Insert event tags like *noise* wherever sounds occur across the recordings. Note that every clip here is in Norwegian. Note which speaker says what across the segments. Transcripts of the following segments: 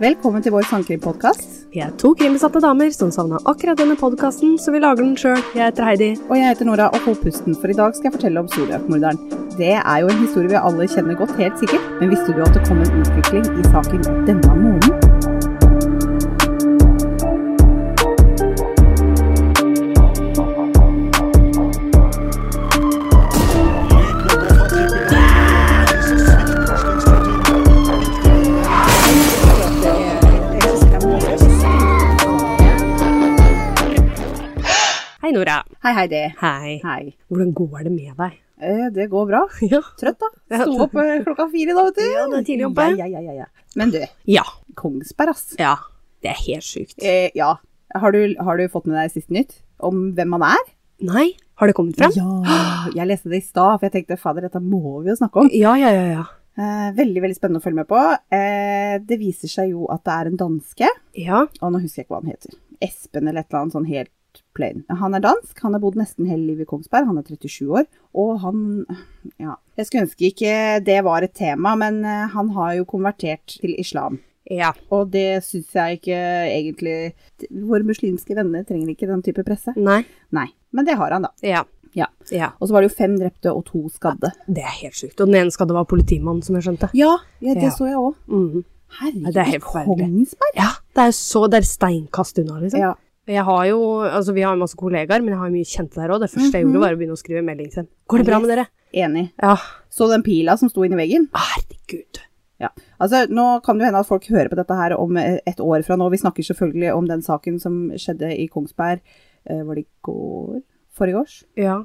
Speaker 1: Velkommen til vår sangkrimpodkast.
Speaker 2: Vi er to krimbesatte damer som savna akkurat denne podkasten, så vi lager den sjøl. Jeg heter Heidi.
Speaker 1: Og jeg heter Nora, og hold pusten, for i dag skal jeg fortelle om Zodiac-morderen. Det er jo en historie vi alle kjenner godt, helt sikkert. Men visste du at det kom en utvikling i saken denne måneden?
Speaker 2: Hei, Nora.
Speaker 1: Hei, Heidi.
Speaker 2: Hei.
Speaker 1: Hei.
Speaker 2: Hvordan går det med deg?
Speaker 1: Eh, det går bra.
Speaker 2: *laughs* Ja.
Speaker 1: Trøtt, da. Sto opp eh, klokka fire i dag, vet du.
Speaker 2: Ja, det er tidlig oppe.
Speaker 1: Ja, ja, ja, ja, ja. Men du,
Speaker 2: Ja.
Speaker 1: Kongsberg, ass.
Speaker 2: Det er helt sjukt.
Speaker 1: Eh, ja. Har du, har du fått med deg siste nytt om hvem han er?
Speaker 2: Nei, har det kommet fram?
Speaker 1: Ja. Jeg leste det i stad, for jeg tenkte fader, dette må vi jo snakke om.
Speaker 2: Ja, ja, ja. ja.
Speaker 1: Eh, veldig veldig spennende å følge med på. Eh, det viser seg jo at det er en danske.
Speaker 2: Ja,
Speaker 1: Og nå husker jeg ikke hva han heter. Espen eller et eller annet sånn helt plain. Han er dansk, han har bodd nesten hele livet i Kongsberg, han er 37 år. Og han Ja. Jeg skulle ønske ikke det var et tema, men eh, han har jo konvertert til islam.
Speaker 2: ja.
Speaker 1: Og det syns jeg ikke egentlig Våre muslimske venner trenger ikke den type presse.
Speaker 2: Nei.
Speaker 1: Nei. Men det har han, da.
Speaker 2: Ja.
Speaker 1: Ja.
Speaker 2: ja.
Speaker 1: Og så var det jo fem drepte og to skadde.
Speaker 2: Det er helt sjukt. Og den ene skadde var politimannen, som jeg skjønte.
Speaker 1: Ja, ja det
Speaker 2: Ja.
Speaker 1: så jeg òg.
Speaker 2: Mhm. Ja, det er
Speaker 1: Herregud,
Speaker 2: helt forferdelig.
Speaker 1: Kongsberg!
Speaker 2: Ja, det er så Det er steinkast unna, liksom.
Speaker 1: Ja.
Speaker 2: Jeg har jo, altså Vi har jo masse kollegaer, men jeg har jo mye kjente der òg. Det første jeg gjorde, var å begynne å skrive melding til dem. Går det bra med dere?
Speaker 1: Enig.
Speaker 2: Mhm. Ja.
Speaker 1: Så den pila som sto inni veggen?
Speaker 2: Herregud.
Speaker 1: Ja. Altså, nå kan det jo hende at folk hører på dette her om eh, et år fra nå. Vi snakker selvfølgelig om den saken som skjedde i Kongsberg. Eh, var det i går? Forrige års?
Speaker 2: Ja.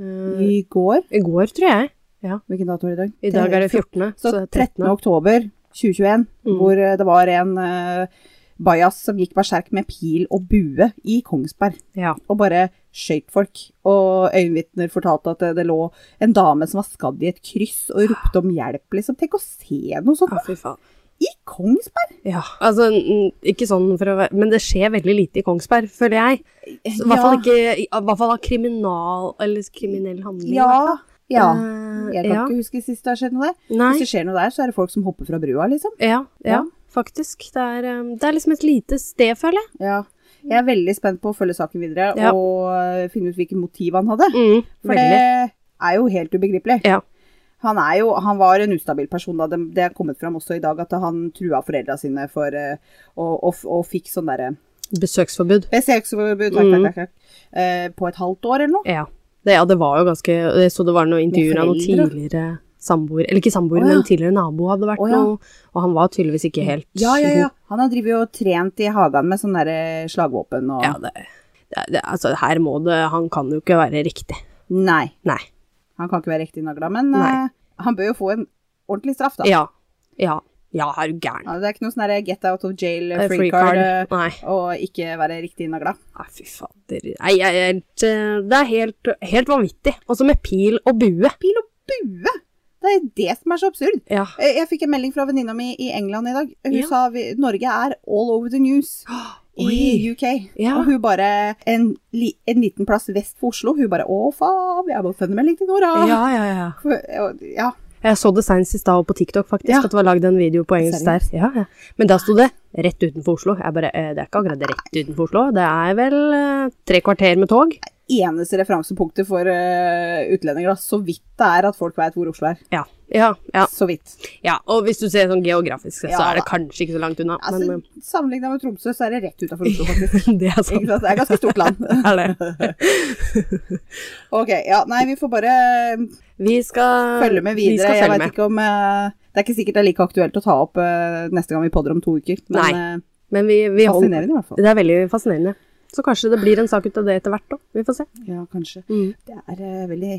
Speaker 2: Eh,
Speaker 1: I går?
Speaker 2: I går, tror jeg. Ja.
Speaker 1: Hvilken dato er det i dag?
Speaker 2: I dag er det 14.,
Speaker 1: Så
Speaker 2: så Mm.
Speaker 1: 13. oktober 2021, hvor eh, det var en eh, bajas som gikk berserk med pil og bue i Kongsberg.
Speaker 2: Ja.
Speaker 1: og bare skjøt folk. Og øyenvitner fortalte at eh, det, det lå en dame som var skadd i et kryss og ropte om hjelp. liksom. Tenk å se noe sånt
Speaker 2: Ja, fy faen.
Speaker 1: i Kongsberg!
Speaker 2: Ja. Altså, n- ikke sånn for å være Men det skjer veldig lite i Kongsberg, føler jeg. Så I hvert fall ikke i hvert fall av kriminal eller kriminell handling.
Speaker 1: Ja. ja.
Speaker 2: Eh,
Speaker 1: Jeg kan
Speaker 2: ja.
Speaker 1: ikke huske sist det har skjedd noe der.
Speaker 2: Nei.
Speaker 1: Hvis det skjer noe der, så er det folk som hopper fra brua, liksom.
Speaker 2: Ja, ja,
Speaker 1: Ja.
Speaker 2: faktisk. Det er, eh, det er liksom et lite sted, føler jeg.
Speaker 1: Ja. Jeg er veldig spent på å følge saken videre
Speaker 2: Ja.
Speaker 1: og eh, finne ut hvilket motiv han hadde.
Speaker 2: Mm,
Speaker 1: For
Speaker 2: veldig.
Speaker 1: det er jo helt ubegripelig.
Speaker 2: Ja.
Speaker 1: Han, er jo, han var en ustabil person. Da. Det, det er kommet fram også i dag at han trua foreldra sine for, eh, og, og, og fikk sånn derre
Speaker 2: Besøksforbud.
Speaker 1: Besøksforbud takk,
Speaker 2: Mm.
Speaker 1: takk, takk, takk. Eh, på et halvt år eller noe.
Speaker 2: Ja. Det, ja, det var jo ganske Jeg så det var noen intervjuer av noen
Speaker 1: foreldre.
Speaker 2: tidligere samboer Eller ikke
Speaker 1: Å,
Speaker 2: samboer,
Speaker 1: ja.
Speaker 2: men tidligere nabo hadde vært
Speaker 1: Å, ja.
Speaker 2: noe Og han var tydeligvis ikke helt
Speaker 1: Ja, ja,
Speaker 2: god
Speaker 1: ja. Han har drevet og trent i hagen med sånn derre slagvåpen og
Speaker 2: Ja, det, det, det, altså, her må det Han kan jo ikke være riktig.
Speaker 1: Nei,
Speaker 2: Nei.
Speaker 1: han kan ikke være riktig nagla, men
Speaker 2: Nei.
Speaker 1: eh, han bør jo få en ordentlig straff, da.
Speaker 2: Ja. Ja, ja er du gæren.
Speaker 1: Ja, det er ikke noe sånn derre get out of jail,
Speaker 2: Eh,
Speaker 1: free, card, eh,
Speaker 2: Nei.
Speaker 1: og ikke være riktig nagla.
Speaker 2: Nei, fy fader. Nei, jeg er helt eh, Det er helt, helt vanvittig. Også med pil og bue.
Speaker 1: Pil og bue! Det er det som er så absurd.
Speaker 2: Ja.
Speaker 1: Eh, Jeg fikk en melding fra venninna mi i England i dag. Hun
Speaker 2: Ja.
Speaker 1: sa vi, Norge er all over the news. i
Speaker 2: Oi.
Speaker 1: UK.
Speaker 2: Ja.
Speaker 1: Og hun bare en, li- en liten plass vest for Oslo. Hun bare 'Å, faen, jeg må sende melding til Nora'.
Speaker 2: Ja, ja, ja.
Speaker 1: For- og- ja.
Speaker 2: Jeg så det senest i stad og på TikTok, faktisk,
Speaker 1: Ja.
Speaker 2: at det var lagd en video på engelsk der.
Speaker 1: Seriøst?
Speaker 2: Ja, ja. Men da sto det 'rett utenfor Oslo'. Jeg bare, eh, Det er ikke akkurat rett utenfor Oslo, det er vel eh, tre kvarter med tog?
Speaker 1: Eneste referansepunktet for eh, utlendinger, da, så vidt det er at folk veit hvor Oslo er.
Speaker 2: Ja. Ja, ja,
Speaker 1: Så vidt.
Speaker 2: ja. Og hvis du ser sånn geografisk, så
Speaker 1: Ja,
Speaker 2: er det
Speaker 1: da.
Speaker 2: kanskje ikke så langt unna,
Speaker 1: Altså,
Speaker 2: *laughs* men
Speaker 1: Sammenligna med Tromsø, så er det rett utafor Oslo, faktisk. *laughs*
Speaker 2: eh, *laughs* det er
Speaker 1: Ikke
Speaker 2: sånn.
Speaker 1: sant? Det er et ganske stort land. *laughs*
Speaker 2: Er det.
Speaker 1: Ok, ja, nei, vi får bare
Speaker 2: *laughs*
Speaker 1: eh,
Speaker 2: Vi skal
Speaker 1: følge med videre.
Speaker 2: Vi skal
Speaker 1: jeg
Speaker 2: følge
Speaker 1: vet
Speaker 2: med.
Speaker 1: ikke om eh, Det er ikke sikkert det er like aktuelt å ta opp eh, neste gang vi podder om to uker, men
Speaker 2: Nei.
Speaker 1: eh,
Speaker 2: Men vi, vi holder
Speaker 1: fascinerende i hvert fall.
Speaker 2: Det er veldig fascinerende. Så kanskje det blir en sak ut av det etter hvert òg. Vi får se.
Speaker 1: Ja, kanskje.
Speaker 2: Mm.
Speaker 1: Det er eh, veldig,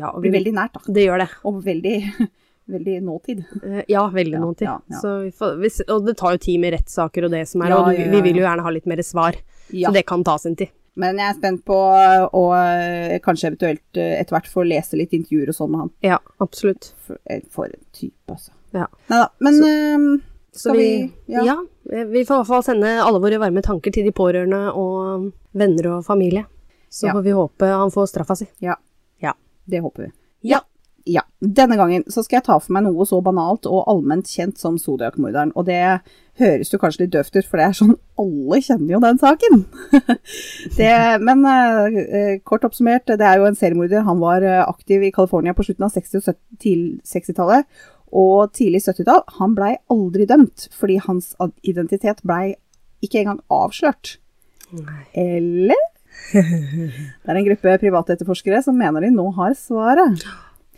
Speaker 2: Ja, og
Speaker 1: blir
Speaker 2: vi,
Speaker 1: veldig nært, da.
Speaker 2: det gjør det.
Speaker 1: Og veldig, *laughs* veldig nåtid.
Speaker 2: Eh, Ja, veldig
Speaker 1: Ja,
Speaker 2: noen til.
Speaker 1: ja, ja.
Speaker 2: Så vi får, hvis, og det tar jo tid med rettssaker og det som er,
Speaker 1: Ja,
Speaker 2: og du,
Speaker 1: ja, ja,
Speaker 2: vi vil
Speaker 1: ja.
Speaker 2: jo gjerne ha litt mer svar.
Speaker 1: Ja.
Speaker 2: Så det kan ta sin tid.
Speaker 1: Men jeg er spent på å eh, kanskje eventuelt eh, etter hvert få lese litt intervjuer og sånn med han.
Speaker 2: Ja, absolutt.
Speaker 1: For, eh, for en type, altså.
Speaker 2: Ja.
Speaker 1: Neida, men eh,
Speaker 2: Så
Speaker 1: skal vi,
Speaker 2: ja. eh, vi får i hvert fall sende alle våre varme tanker til de pårørende og venner og familie. Så
Speaker 1: Ja.
Speaker 2: får vi håpe han får straffa si.
Speaker 1: Ja.
Speaker 2: Ja.
Speaker 1: Det håper vi.
Speaker 2: Ja.
Speaker 1: Ja. Denne gangen så skal jeg ta for meg noe så banalt og allment kjent som Zodiac-morderen. Og det høres jo kanskje litt døvt ut, for det er sånn alle kjenner jo den saken. *laughs* det, men eh, kort oppsummert, det er jo en seriemorder. Han var eh, aktiv i California på slutten av 60- og 70 til 60-tallet og tidlig 70-tall. Han blei aldri dømt, fordi hans ad- identitet blei ikke engang avslørt.
Speaker 2: Nei.
Speaker 1: Eller? Det er en gruppe privatetterforskere som mener de nå har svaret.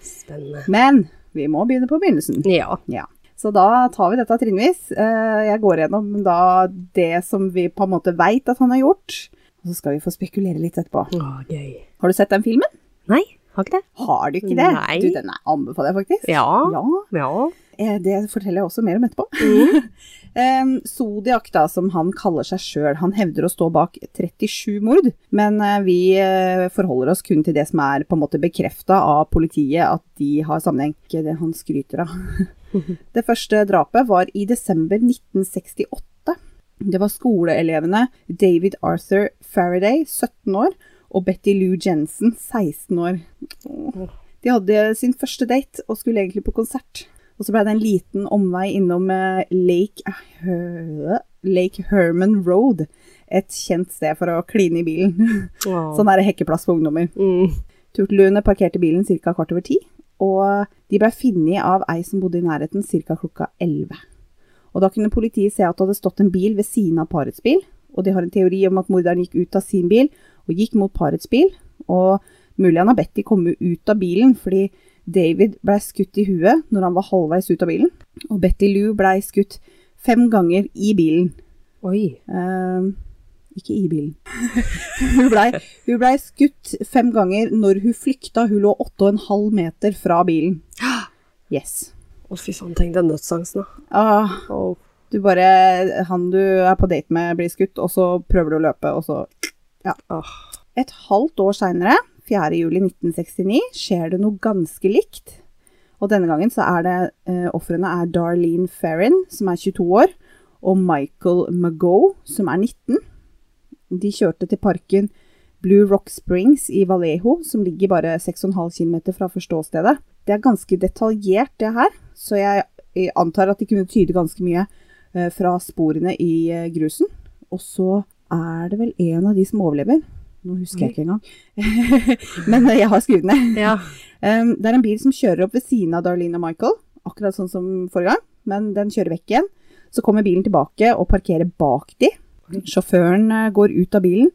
Speaker 2: Spennende.
Speaker 1: Men vi må begynne på begynnelsen.
Speaker 2: Ja.
Speaker 1: Ja. Så da tar vi dette trinnvis. Eh, Jeg går gjennom da det som vi på en måte veit at han har gjort. Og så skal vi få spekulere litt etterpå.
Speaker 2: Å, gøy.
Speaker 1: Har du sett den filmen?
Speaker 2: Nei, har ikke det.
Speaker 1: Har du ikke det?
Speaker 2: Nei.
Speaker 1: Du, den er- anbefaler jeg faktisk.
Speaker 2: Ja.
Speaker 1: ja.
Speaker 2: Ja.
Speaker 1: Eh, Det forteller jeg også mer om etterpå. *laughs* Em, Zodiac, da, som han kaller seg sjøl, han hevder å stå bak 37 mord, men eh, vi eh, forholder oss kun til det som er på en måte bekrefta av politiet at de har sammenheng. Ikke det han skryter av. det første drapet var i desember 1968. Det var skoleelevene David Arthur Faraday, 17 år, og Betty Lou Jensen, 16 år. Åh. De hadde sin første date og skulle egentlig på konsert. Og så ble det en liten omvei innom eh, Lake, Hø- Lake Herman Road, et kjent sted for å kline i bilen. *laughs*
Speaker 2: Å.
Speaker 1: Sånn er det hekkeplass for ungdommer.
Speaker 2: Mm.
Speaker 1: Turtelune parkerte bilen ca. kvart over ti, og de ble funnet av ei som bodde i nærheten ca. klokka elleve. Og da kunne politiet se at det hadde stått en bil ved siden av parets bil, og de har en teori om at morderen gikk ut av sin bil og gikk mot parets bil, og mulig han har bedt de komme ut av bilen, fordi David blei skutt i huet når han var halvveis ut av bilen, og Betty Lou blei skutt fem ganger i bilen.
Speaker 2: Oi.
Speaker 1: Eh, ikke i bilen. *laughs* hun blei hun blei skutt fem ganger når hun flykta. Hun lå åtte og en halv meter fra bilen. Yes.
Speaker 2: Å, fy faen, tenk den dødsangsten, da.
Speaker 1: Ah,
Speaker 2: Å,
Speaker 1: du bare Han du er på date med, blir skutt, og så prøver du å løpe, og så
Speaker 2: ah.
Speaker 1: Et halvt år seinere, 4. juli 1969, skjer det noe ganske likt. Og denne gangen så er det eh, ofrene er Darlene Ferrin, som er 22 år, og Michael Magoe, som er 19. De kjørte til parken Blue Rock Springs i Vallejo, som ligger bare 6,5 km fra forståstedet. Det er ganske detaljert, det her, så jeg eh, antar at de kunne tyde ganske mye eh, fra sporene i eh, grusen. Og så er det vel en av de som overlever. Nå husker jeg ikke engang. *laughs* Men eh, jeg har skrevet ned.
Speaker 2: Ja.
Speaker 1: Um, det er en bil som kjører opp ved siden av Darlene og Michael, akkurat sånn som forrige gang, men den kjører vekk igjen. Så kommer bilen tilbake og parkerer bak de. Sjåføren eh, går ut av bilen,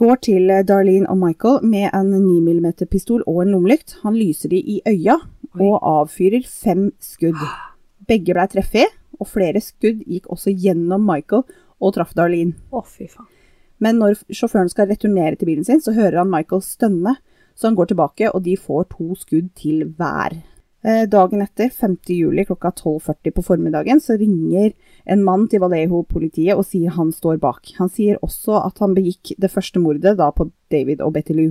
Speaker 1: går til eh, Darlene og Michael med en 9 mm pistol og en lommelykt. Han lyser de i øya og avfyrer fem skudd. Begge blei treffet, og flere skudd gikk også gjennom Michael og traff Darlene.
Speaker 2: Å, fy faen.
Speaker 1: Men når sjåføren skal returnere til bilen sin, så hører han Michael stønne, så han går tilbake, og de får to skudd til hver. Eh, Dagen etter, 5. juli klokka 12.40 på formiddagen, så ringer en mann til Vallejo-politiet og sier han står bak. Han sier også at han begikk det første mordet, da på David og Betty Lou.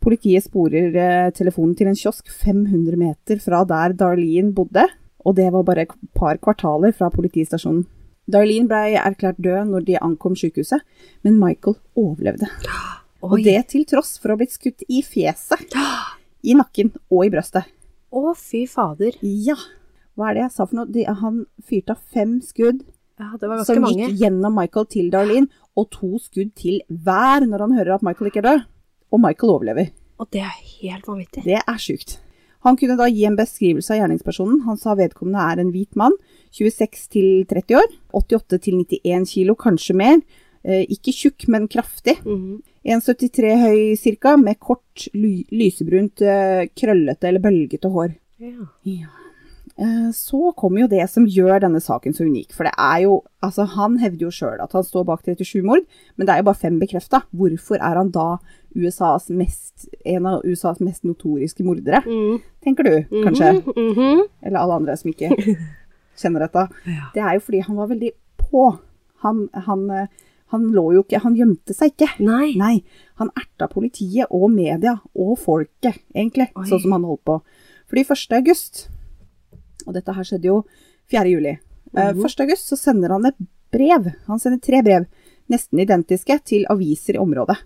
Speaker 1: Politiet sporer eh, telefonen til en kiosk 500 meter fra der Darlene bodde, og det var bare et par kvartaler fra politistasjonen. Darlene blei erklært død når de ankom sykehuset, men Michael overlevde. Og
Speaker 2: Oi.
Speaker 1: det til tross for å ha blitt skutt i fjeset, i nakken og i brøstet.
Speaker 2: Å, fy fader.
Speaker 1: Ja, hva er det jeg sa for noe? De, han fyrte av fem skudd
Speaker 2: Ja, det var ganske
Speaker 1: som
Speaker 2: mange.
Speaker 1: gikk gjennom Michael til Darlene, og to skudd til hver når han hører at Michael ikke er død. Og Michael overlever.
Speaker 2: Og det er helt vanvittig.
Speaker 1: Det er sjukt. Han kunne da gi en beskrivelse av gjerningspersonen. Han sa vedkommende er en hvit mann, 26 til 30 år, 88 til 91 kilo, kanskje mer. Eh, ikke tjukk, men kraftig.
Speaker 2: Mhm.
Speaker 1: 1,73 høy cirka, med kort, ly lysebrunt, eh, krøllete eller bølgete hår.
Speaker 2: Ja.
Speaker 1: Eh, Så kommer jo det som gjør denne saken så unik. For det er jo Altså, han hevder jo sjøl at han står bak 37 mord, men det er jo bare fem bekrefta. Hvorfor er han da USAs mest, en av USAs mest notoriske mordere?
Speaker 2: Mhm.
Speaker 1: Tenker du, kanskje?
Speaker 2: Mhm, mhm.
Speaker 1: Eller alle andre som
Speaker 2: *laughs*
Speaker 1: ikke kjenner dette.
Speaker 2: Ja.
Speaker 1: Det er jo fordi han var veldig på. Han, han, eh, han lå jo ikke Han gjemte seg ikke.
Speaker 2: Nei.
Speaker 1: Nei, han erta politiet og media og folket, egentlig,
Speaker 2: Oi.
Speaker 1: sånn som han holdt på. Fordi 1. august, og dette her skjedde jo 4. juli, Eh, 1. august så sender han et brev, han sender tre brev, nesten identiske, til aviser i området.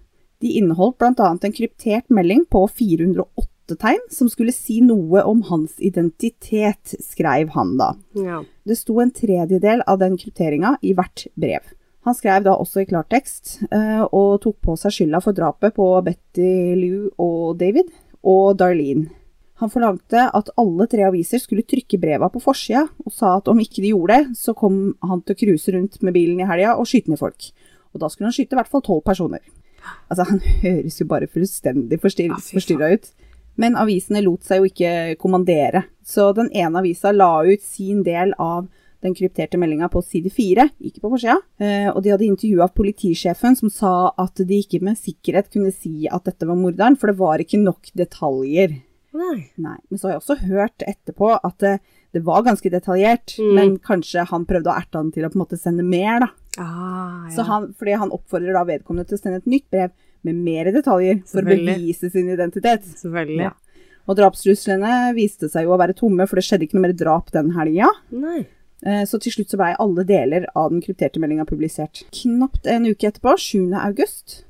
Speaker 1: De inneholdt bl.a. en kryptert melding på 480 spottetegn som skulle si noe om hans identitet, skrev han da.
Speaker 2: Ja.
Speaker 1: Det sto en tredjedel av den krypteringa i hvert brev. Han skrev da også i klartekst, eh, og tok på seg skylda for drapet på Betty Lou og David, og Darlene. Han forlangte at alle tre aviser skulle trykke breva på forsida, og sa at om ikke de gjorde det, så kom han til å cruise rundt med bilen i helga og skyte ned folk. Og da skulle han skyte i hvert fall tolv personer. Altså, han *laughs* høres jo bare fullstendig forstyrr
Speaker 2: Ja, fy faen.
Speaker 1: forstyrra ut. Men avisene lot seg jo ikke kommandere, så den ene avisa la ut sin del av den krypterte meldinga på side fire, ikke på forsida. Eh, Og de hadde intervjua politisjefen, som sa at de ikke med sikkerhet kunne si at dette var morderen, for det var ikke nok detaljer.
Speaker 2: Nei.
Speaker 1: Nei, Men så har jeg også hørt etterpå at eh, det var ganske detaljert,
Speaker 2: Mm.
Speaker 1: men kanskje han prøvde å erte han til å på en måte sende mer, da.
Speaker 2: Ah, ja.
Speaker 1: Så han, fordi han oppfordrer da vedkommende til å sende et nytt brev med mer detaljer for å
Speaker 2: Selvfølgelig.
Speaker 1: bevise sin identitet.
Speaker 2: Selvfølgelig.
Speaker 1: Ja. Og drapstruslene viste seg jo å være tomme, for det skjedde ikke noe mer drap den helga.
Speaker 2: Nei.
Speaker 1: Eh, Så til slutt så blei alle deler av den krypterte meldinga publisert. Knapt en uke etterpå, 7. august,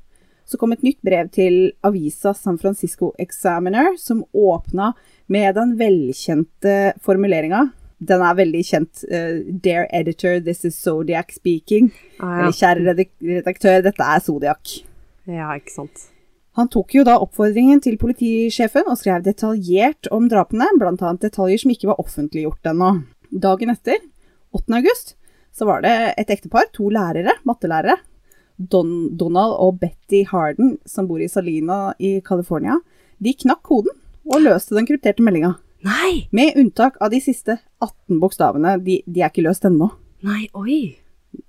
Speaker 1: så kom et nytt brev til avisa San Francisco Examiner, som åpna med den velkjente formuleringa. Den er veldig kjent. eh, Dear editor, this is Zodiac speaking.
Speaker 2: Ah,
Speaker 1: Eller
Speaker 2: ja.
Speaker 1: kjære redak- redaktør, dette er Zodiac.
Speaker 2: ja, ikke sant.
Speaker 1: Han tok jo da oppfordringen til politisjefen og skrev detaljert om drapene, blant annet detaljer som ikke var offentliggjort ennå. Dagen etter, 8. august, så var det et ektepar, to lærere, mattelærere, Don Donald og Betty Harden, som bor i Salina i California. De knakk koden og løste den krypterte meldinga,
Speaker 2: Nei!
Speaker 1: med unntak av de siste 18 bokstavene. De, de er ikke løst ennå.
Speaker 2: Nei, oi!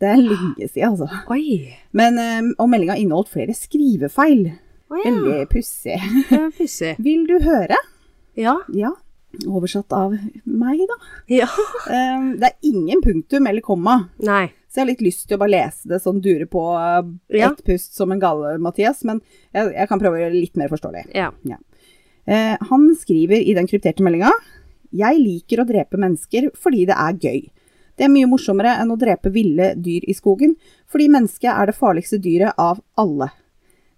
Speaker 1: Det er lenge siden, altså.
Speaker 2: Oi!
Speaker 1: Men, eh, og meldinga inneholdt flere skrivefeil.
Speaker 2: Å ja.
Speaker 1: Veldig pussig.
Speaker 2: det er Pussig.
Speaker 1: Vil du høre?
Speaker 2: Ja.
Speaker 1: Ja. Oversatt av meg, da.
Speaker 2: ja.
Speaker 1: Eh, Det er ingen punktum eller komma,
Speaker 2: Nei.
Speaker 1: så jeg har litt lyst til å bare lese det sånn dure på eh,
Speaker 2: Ja.
Speaker 1: ett pust som en gale, Mathias, men jeg, jeg kan prøve å gjøre det litt mer forståelig.
Speaker 2: Ja.
Speaker 1: Eh, han skriver i den krypterte meldinga Jeg liker å drepe mennesker fordi det er gøy. Det er mye morsommere enn å drepe ville dyr i skogen, fordi mennesket er det farligste dyret av alle.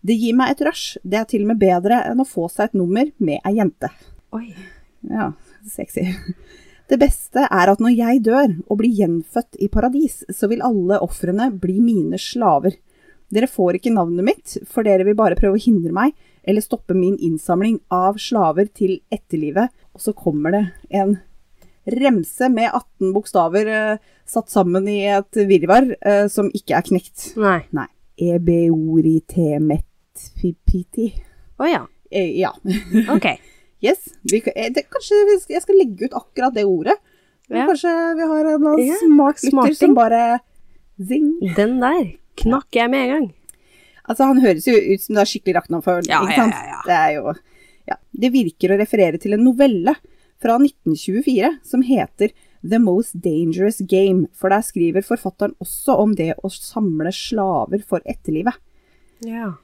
Speaker 1: Det gir meg et rush, det er til og med bedre enn å få seg et nummer med ei jente.
Speaker 2: Oi.
Speaker 1: Ja, sexy. Det beste er at når jeg dør og blir gjenfødt i paradis, så vil alle ofrene bli mine slaver. Dere får ikke navnet mitt, for dere vil bare prøve å hindre meg eller stoppe min innsamling av slaver til etterlivet. Og så kommer det en remse med 18 bokstaver eh, satt sammen i et virvar eh, som ikke er knekt. E
Speaker 2: Nei.
Speaker 1: Nei. E Ebeoritemetfipiti.
Speaker 2: Å ja.
Speaker 1: Eh, ja.
Speaker 2: Ok.
Speaker 1: Yes. Vi, kan- eh, det, kanskje vi, sk- jeg skal legge ut akkurat det ordet. Men
Speaker 2: Ja.
Speaker 1: Kanskje vi har en eller annen
Speaker 2: *laughs* Ja,
Speaker 1: smart lytter
Speaker 2: smarting.
Speaker 1: som bare zing.
Speaker 2: Den der knakk jeg med en gang.
Speaker 1: Altså, han høres jo ut som det er skikkelig rakknavnføl,
Speaker 2: Ja,
Speaker 1: ikke
Speaker 2: ja,
Speaker 1: sant?
Speaker 2: ja, ja.
Speaker 1: Det er jo ja. Det virker å referere til en novelle fra 1924 som heter The Most Dangerous Game, for der skriver forfatteren også om det å samle slaver for etterlivet.
Speaker 2: Ja.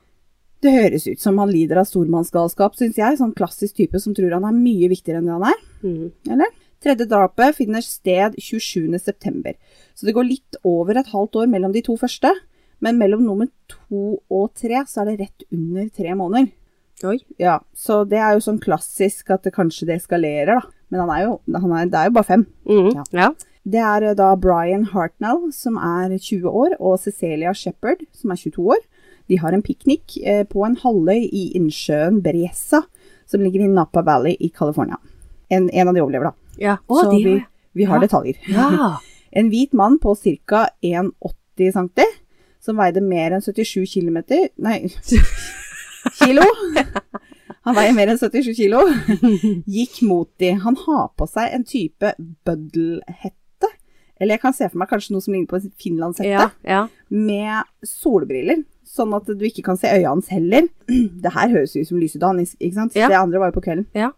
Speaker 1: Det høres ut som han lider av stormannsgalskap, syns jeg. Sånn klassisk type som tror han er mye viktigere enn det han er.
Speaker 2: Mm.
Speaker 1: eller? Tredje drapet finner sted 27. september, så det går litt over et halvt år mellom de to første, men mellom nummer to og tre så er det rett under tre måneder.
Speaker 2: Oi.
Speaker 1: Ja, så det er jo sånn klassisk at det kanskje det eskalerer, da. Men han er jo, han er, det er jo bare fem.
Speaker 2: Mm.
Speaker 1: Ja.
Speaker 2: Ja.
Speaker 1: Det er eh, da Brian Hartnell, som er 20 år, og Cecilia Shepherd, som er 22 år. De har en piknik eh, på en halvøy i innsjøen Bresa, som ligger i Napa Valley i California. En, en av de overlever, da.
Speaker 2: ja. Å,
Speaker 1: Så
Speaker 2: de
Speaker 1: vi,
Speaker 2: har-
Speaker 1: vi har
Speaker 2: Ja.
Speaker 1: detaljer.
Speaker 2: Ja.
Speaker 1: En hvit mann på ca. 1,80 cm, som veide mer enn 77 km Nei,
Speaker 2: *laughs*
Speaker 1: kilo. Han veier mer enn 77 kilo.
Speaker 2: *laughs*
Speaker 1: Gikk mot de. Han har på seg en type bøddelhette, eller jeg kan se for meg kanskje noe som ligner på en finlandshette,
Speaker 2: Ja. ja.
Speaker 1: med solbriller. Sånn at du ikke kan se øya hans heller. *clears throat* Det her høres ut som lysedagen, ikke sant?
Speaker 2: Ja.
Speaker 1: Det andre var jo på kvelden.
Speaker 2: Ja.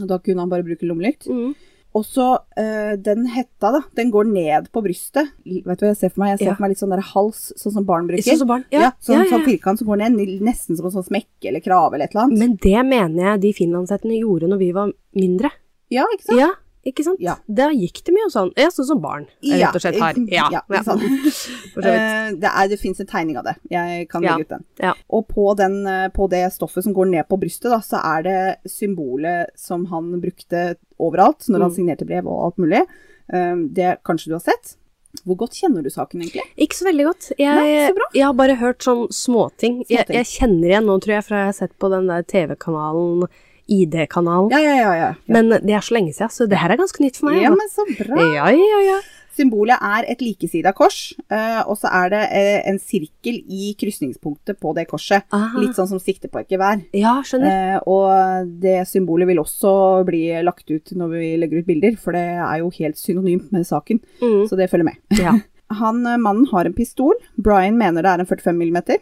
Speaker 1: Og da kunne han bare bruke lommelykt.
Speaker 2: Mm.
Speaker 1: Og så eh, den hetta, da, den går ned på brystet. I- Vet du hva jeg ser for meg? Jeg ser
Speaker 2: Ja.
Speaker 1: for meg litt sånn der hals, sånn som barn bruker.
Speaker 2: Sånn som barn.
Speaker 1: ja,
Speaker 2: Ja.
Speaker 1: sånn,
Speaker 2: ja, ja,
Speaker 1: sånn
Speaker 2: ja.
Speaker 1: firkant som går ned, ni- nesten som en sånn smekke eller krave eller et eller annet.
Speaker 2: Men det mener jeg de finlandshettene gjorde når vi var mindre.
Speaker 1: ja, ikke sant?
Speaker 2: Ja. Ikke sant?
Speaker 1: Sånn. Ja.
Speaker 2: Der gikk det mye sånn. Ja, sånn som barn,
Speaker 1: Ja,
Speaker 2: rett og slett her. Ja.
Speaker 1: ja, ikke sant.
Speaker 2: *laughs* For så vidt.
Speaker 1: Eh, det er- det fins en tegning av det. Jeg kan
Speaker 2: Ja,
Speaker 1: legge ut den.
Speaker 2: ja.
Speaker 1: Og på, den, eh, på det stoffet som går ned på brystet, da, så er det symbolet som han brukte overalt når han
Speaker 2: Mm.
Speaker 1: signerte brev og alt mulig. Eh, Det kanskje du har sett. Hvor godt kjenner du saken, egentlig?
Speaker 2: Ikke så veldig godt. Jeg,
Speaker 1: Nei, så bra.
Speaker 2: jeg har bare hørt sånn småting. Jeg,
Speaker 1: Småting.
Speaker 2: jeg kjenner igjen nå, tror jeg, fra jeg har sett på den der TV-kanalen, ID-kanalen.
Speaker 1: Ja, ja, ja. ja.
Speaker 2: Men det er så lenge siden, så det her er ganske nytt for meg.
Speaker 1: Ja,
Speaker 2: altså.
Speaker 1: men så bra.
Speaker 2: ja, ja, ja.
Speaker 1: Symbolet er et likesida kors, eh, og så er det eh, en sirkel i krysningspunktet på det korset.
Speaker 2: Aha.
Speaker 1: Litt sånn som sikte på et gevær.
Speaker 2: ja, skjønner.
Speaker 1: Eh, og det symbolet vil også bli lagt ut når vi legger ut bilder, for det er jo helt synonymt med saken,
Speaker 2: Mm.
Speaker 1: så det følger med. *laughs*
Speaker 2: Ja.
Speaker 1: Han, eh, mannen har en pistol. Brian mener det er en 45 mm.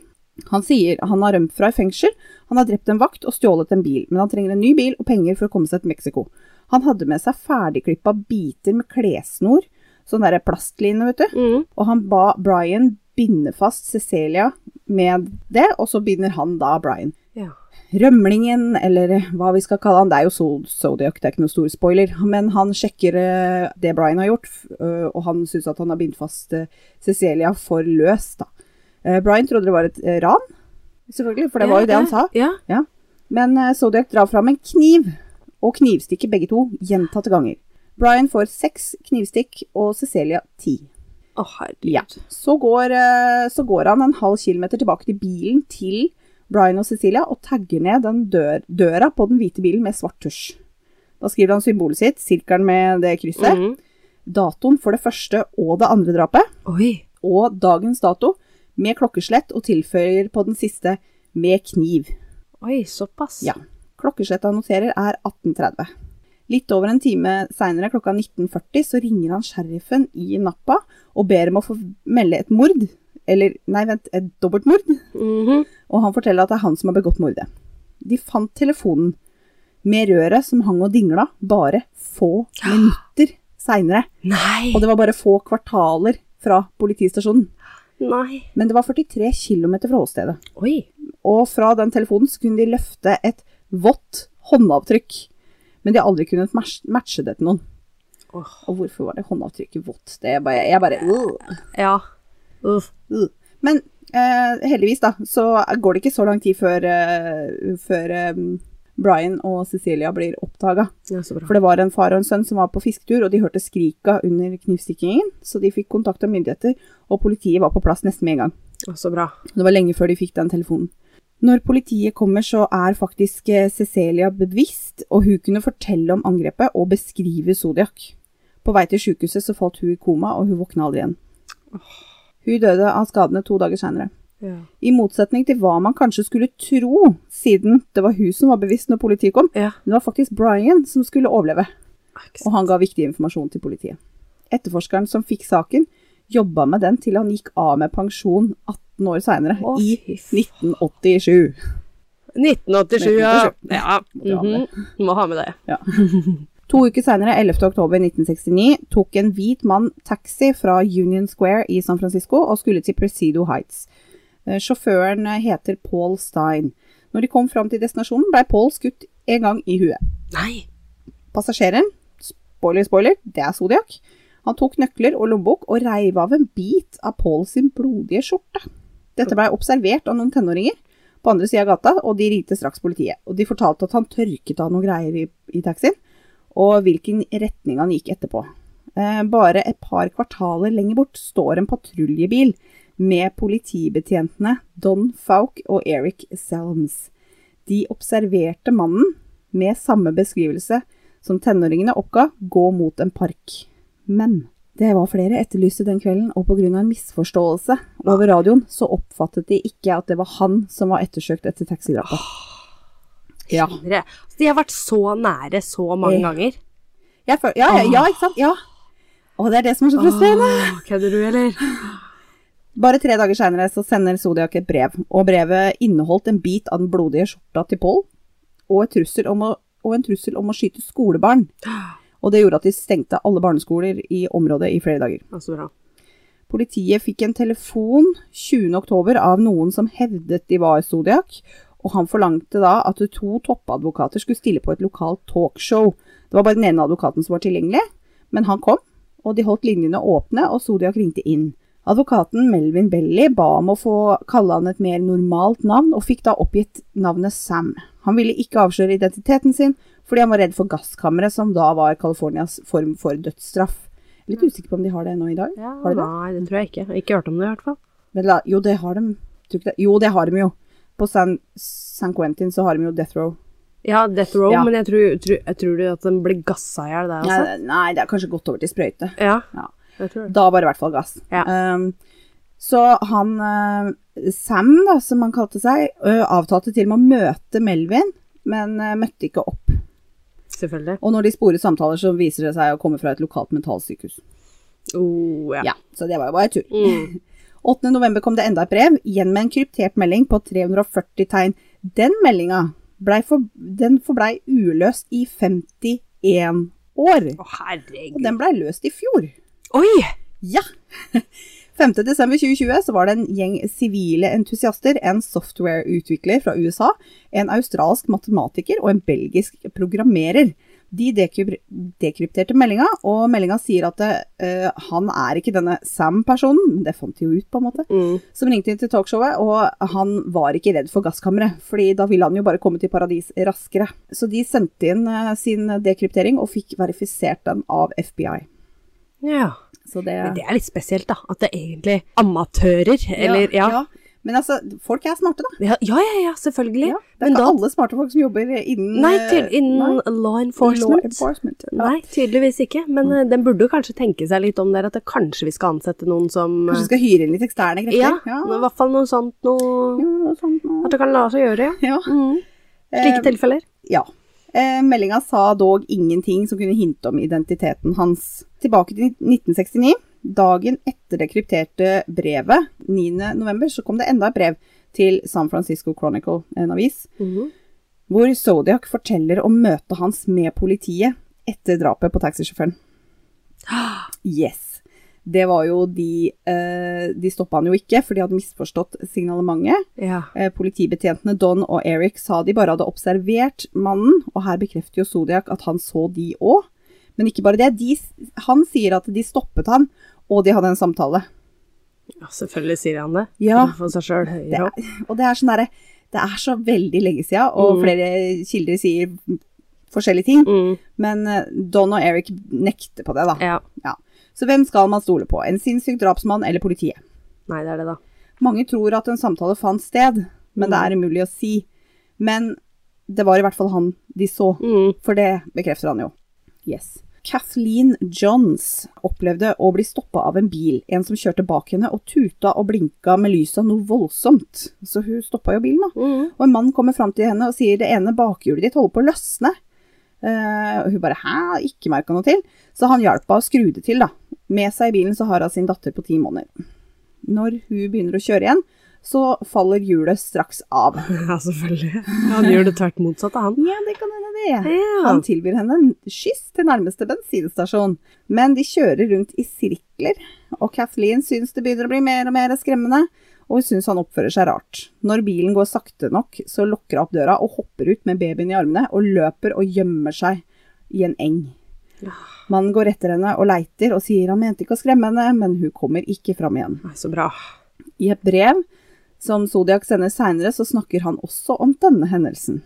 Speaker 1: Han sier han har rømt fra et fengsel, han har drept en vakt og stjålet en bil, men han trenger en ny bil og penger for å komme seg til Mexico. Han hadde med seg ferdigklippa biter med klessnor, sånn derre plastline, vet du,
Speaker 2: Mm.
Speaker 1: og han ba Brian binde fast Cecilia med det, og så binder han da Brian
Speaker 2: ja.
Speaker 1: rømlingen, eller eh, hva vi skal kalle han. Det er jo Sol- Zodiac, det er ikke noe stor spoiler. Men han sjekker eh, det Brian har gjort, f- eh, og han syns at han har bindt fast eh, Cecilia for løst, da. Eh, Brian trodde det var et eh, ran, selvfølgelig, for det var jo det han sa.
Speaker 2: Ja.
Speaker 1: Men eh, Zodiac drar fram en kniv, og knivstikker begge to gjentatte ganger. Brian får seks knivstikk, og Cecilia ti.
Speaker 2: Å, herregud.
Speaker 1: Ja. Så går, eh, så går han en halv kilometer tilbake til bilen til Brian og Cecilia og tagger ned den dør, døra på den hvite bilen med svart tusj. Da skriver han symbolet sitt, sirkelen med det krysset,
Speaker 2: Mm.
Speaker 1: datoen for det første og det andre drapet,
Speaker 2: Oi.
Speaker 1: og dagens dato med klokkeslett og tilføyer på den siste med kniv.
Speaker 2: Oi, såpass.
Speaker 1: Ja. Klokkeslettet han noterer er 18.30. Litt over en time seinere, klokka 19.40, så ringer han sheriffen i Nappa og ber om å få melde et mord. Eller, nei, vent, et dobbeltmord.
Speaker 2: Mhm.
Speaker 1: Og han forteller at det er han som har begått mordet. De fant telefonen med røret som hang og dingla bare få minutter seinere.
Speaker 2: Nei.
Speaker 1: Og det var bare få kvartaler fra politistasjonen.
Speaker 2: Nei.
Speaker 1: Men det var 43 km fra åstedet.
Speaker 2: Oi.
Speaker 1: Og fra den telefonen så kunne de løfte et vått håndavtrykk. Men de har aldri kunnet mas- matche det til noen.
Speaker 2: Åh.
Speaker 1: Og hvorfor var det håndavtrykket vått? Det er bare, jeg bare øh,
Speaker 2: Ja. Uff.
Speaker 1: øh. Men eh, heldigvis, da, så går det ikke så lang tid før, eh, før eh, Brian og Cecilia blir oppdaga.
Speaker 2: Ja, så bra.
Speaker 1: For det var en far og en sønn som var på fisketur, og de hørte skrika under knivstikkingen. Så de fikk kontakt av myndigheter, og politiet var på plass nesten med en gang.
Speaker 2: Ja, så bra.
Speaker 1: Det var lenge før de fikk den telefonen. Når politiet kommer, så er faktisk eh, Cecilia bevisst, og hun kunne fortelle om angrepet og beskrive Zodiac. På vei til sykehuset så falt hun i koma, og hun våkna aldri igjen. Hun døde av skadene to dager seinere.
Speaker 2: Ja.
Speaker 1: I motsetning til hva man kanskje skulle tro, siden det var hun som var bevisst når politiet kom,
Speaker 2: ja.
Speaker 1: men det var faktisk Brian som skulle overleve
Speaker 2: Ikke sant.
Speaker 1: og han ga viktig informasjon til politiet. Etterforskeren som fikk saken, jobba med den til han gikk av med pensjon 18 år seinere,
Speaker 2: Å,
Speaker 1: i
Speaker 2: fy faen.
Speaker 1: 1987.
Speaker 2: 1987, ja.
Speaker 1: 1987.
Speaker 2: ja.
Speaker 1: Må du ha med.
Speaker 2: Mhm. Må ha med det.
Speaker 1: To uker seinere, 11.10.1969, tok en hvit mann taxi fra Union Square i San Francisco og skulle til Presido Heights. Eh, Sjåføren eh, heter Paul Stein. Når de kom fram til destinasjonen, blei Paul skutt en gang i huet.
Speaker 2: Nei.
Speaker 1: Passasjeren, spoiler, spoiler, det er Zodiac, han tok nøkler og lommebok og reiv av en bit av Paul sin blodige skjorte. Dette blei observert av noen tenåringer på andre sida av gata, og de ringte straks politiet. Og de fortalte at han tørket av noen greier i, i taxien, og hvilken retning han gikk etterpå. Eh, bare et par kvartaler lenger bort står en patruljebil med politibetjentene Don Faulk og Eric Selms. De observerte mannen med samme beskrivelse som tenåringene oppga, gå mot en park. Men det var flere etterlyste den kvelden, og pga. en misforståelse over radioen, så oppfattet de ikke at det var han som var ettersøkt etter taxidrapet. Ja.
Speaker 2: Dere- altså, De har vært så nære så mange
Speaker 1: Ja.
Speaker 2: ganger.
Speaker 1: Jeg føl ja, ja, ja, ikke sant? Ja. Og det er det som er så frustrerende.
Speaker 2: Åh, Kødder du, eller?
Speaker 1: Bare tre dager seinere så sender Zodiac et brev, og brevet inneholdt en bit av den blodige skjorta til Paul, og, et trussel om å, og en trussel om å skyte skolebarn. Og det gjorde at de stengte alle barneskoler i området i flere dager.
Speaker 2: Ja, så bra.
Speaker 1: Politiet fikk en telefon 20. oktober av noen som hevdet de var Zodiac, og han forlangte da at to toppadvokater skulle stille på et lokalt talkshow Det var bare den ene advokaten som var tilgjengelig, men han kom, og de holdt linjene åpne, og Zodiac ringte inn. Advokaten Melvin Belly ba om å få kalle han et mer normalt navn, og fikk da oppgitt navnet Sam. Han ville ikke avsløre identiteten sin, fordi han var redd for gasskammeret, som da var Californias form for dødsstraff. Jeg er Litt usikker på om de har det nå i dag.
Speaker 2: Ja,
Speaker 1: Har de det?
Speaker 2: Nei, det tror jeg ikke. Jeg har ikke hørt om det, i hvert fall.
Speaker 1: Men la, jo, det har de. Tror ikke det. Jo, det har de jo. På San, San Quentin så har de jo Death Row.
Speaker 2: Ja, Death Row,
Speaker 1: Ja.
Speaker 2: men jeg tror, tror, jeg tror det at den ble gassa i hjel der, altså.
Speaker 1: Nei, Eh, nei, det er kanskje gått over til sprøyte.
Speaker 2: Ja.
Speaker 1: Ja.
Speaker 2: Jeg tror det.
Speaker 1: Da var det i hvert fall gass.
Speaker 2: Ja.
Speaker 1: Ehm, så han eh, Sam, da, som han kalte seg, ø, avtalte til og med å møte Melvin, men eh, møtte ikke opp.
Speaker 2: Selvfølgelig.
Speaker 1: Og når de sporer samtaler, så viser det seg å komme fra et lokalt mentalsykehus.
Speaker 2: Oh, ja.
Speaker 1: Ja, så det var jo bare tull.
Speaker 2: Mm.
Speaker 1: 8. november kom det enda et brev, igjen med en kryptert melding på 340 tegn. Den meldinga blei for, den forblei uløst i 51 år,
Speaker 2: Å,
Speaker 1: og
Speaker 2: herregud.
Speaker 1: den blei løst i fjor.
Speaker 2: Oi!
Speaker 1: Ja! *laughs* 5. desember 2020 så var det en gjeng sivile entusiaster, en softwareutvikler fra USA, en australsk matematiker og en belgisk programmerer. De dekryp- dekrypterte meldinga, og meldinga sier at eh, han er ikke denne Sam-personen, men det fant de jo ut, på en måte
Speaker 2: Mm.
Speaker 1: som ringte inn til talkshowet, og han var ikke redd for gasskammeret, fordi da ville han jo bare komme til paradis raskere. Så de sendte inn eh, sin dekryptering og fikk verifisert den av FBI.
Speaker 2: Ja.
Speaker 1: Så det,
Speaker 2: Men det er litt spesielt, da. At det er egentlig amatører, eller Ja, ja,
Speaker 1: Men altså, folk er smarte, da.
Speaker 2: ja, ja, ja selvfølgelig.
Speaker 1: Ja, det er
Speaker 2: men
Speaker 1: ikke
Speaker 2: da
Speaker 1: alle smarte folk som jobber innen
Speaker 2: Nei,
Speaker 1: eh,
Speaker 2: til, innen
Speaker 1: nei,
Speaker 2: law enforcement.
Speaker 1: law enforcement. Ja.
Speaker 2: Nei, tydeligvis ikke. Men eh, den burde jo kanskje tenke seg litt om der, at det kanskje vi skal ansette noen som eh,
Speaker 1: Kanskje skal hyre inn litt eksterne krefter?
Speaker 2: Ja, i
Speaker 1: ja.
Speaker 2: hvert fall noe sånt noe
Speaker 1: noe sånt noe.
Speaker 2: At det kan la seg gjøre, ja.
Speaker 1: ja.
Speaker 2: Mm.
Speaker 1: Eh,
Speaker 2: Slike tilfeller.
Speaker 1: Ja. Eh, Meldinga sa dog ingenting som kunne hinte om identiteten hans. Tilbake til 1969. Dagen etter det krypterte brevet, 9. november, så kom det enda et brev til San Francisco Chronicle, en avis, hvor Zodiac forteller om møtet hans med politiet etter drapet på taxisjåføren. Yes. Det var jo de eh, De stoppa han jo ikke, for de hadde misforstått signalementet.
Speaker 2: Ja.
Speaker 1: Eh, Politibetjentene Don og Eric sa de bare hadde observert mannen, og her bekrefter jo Zodiac at han så de òg. Men ikke bare det, de, han sier at de stoppet han, og de hadde en samtale.
Speaker 2: ja, selvfølgelig sier han det.
Speaker 1: Ja.
Speaker 2: For seg sjøl høyere opp.
Speaker 1: Og det er sånn derre Det er så veldig lenge sia, og
Speaker 2: Mm.
Speaker 1: flere kilder sier forskjellige ting,
Speaker 2: Mm.
Speaker 1: men eh, Don og Eric nekter på det, da.
Speaker 2: Ja.
Speaker 1: Så hvem skal man stole på? En sinnssyk drapsmann eller politiet?
Speaker 2: Nei, det er det, da.
Speaker 1: Mange tror at en samtale fant sted, men
Speaker 2: Mm.
Speaker 1: det er umulig å si. Men det var i hvert fall han de så.
Speaker 2: Mm.
Speaker 1: For det bekrefter han jo. Yes. Kathleen Johns opplevde å bli stoppa av en bil, en som kjørte bak henne og tuta og blinka med lysa noe voldsomt. Så hun stoppa jo bilen, da.
Speaker 2: Mm.
Speaker 1: Og
Speaker 2: *laughs*
Speaker 1: en mann kommer fram til henne og sier det ene bakhjulet ditt holder på å løsne. Eh, og hun bare hæ, ikke merka noe til. Så han hjalp henne å skru det til, da. Med seg i bilen så har hun sin datter på ti måneder. Når hun begynner å kjøre igjen, så faller hjulet straks av.
Speaker 2: Ja, selvfølgelig. Han gjør det tvert motsatt av han.
Speaker 1: Ja, det kan hende det.
Speaker 2: Ja.
Speaker 1: Han tilbyr henne en skyss til nærmeste bensinstasjon, men de kjører rundt i sirkler, og Kathleen syns det begynner å bli mer og mer skremmende, og hun syns han oppfører seg rart. Når bilen går sakte nok, så lukker hun opp døra og hopper ut med babyen i armene, og løper og gjemmer seg i en eng. Mannen går etter henne og leiter, og sier han mente ikke å skremme henne, men hun kommer ikke fram igjen.
Speaker 2: Nei, så bra.
Speaker 1: I et brev som Zodiac sender seinere, så snakker han også om denne hendelsen.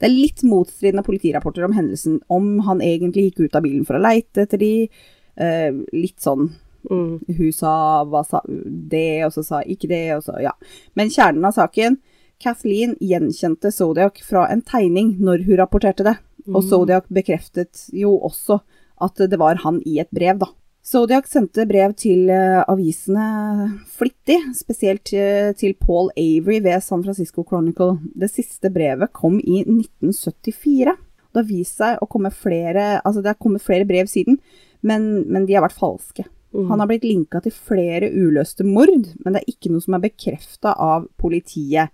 Speaker 1: Det er litt motstridende politirapporter om hendelsen, om han egentlig gikk ut av bilen for å leite etter de. eh, litt sånn
Speaker 2: Mm.
Speaker 1: hun sa hva sa det, og så sa ikke det, og så ja. Men kjernen av saken Kathleen gjenkjente Zodiac fra en tegning når hun rapporterte det, og Zodiac bekreftet jo også at det var han i et brev, da. Zodiac sendte brev til eh, avisene flittig, spesielt eh, til Paul Avery ved San Francisco Chronicle. Det siste brevet kom i 1974. Det har vist seg å komme flere, altså det har kommet flere brev siden, men, men de har vært falske. Han har blitt linka til flere uløste mord, men det er ikke noe som er bekrefta av politiet.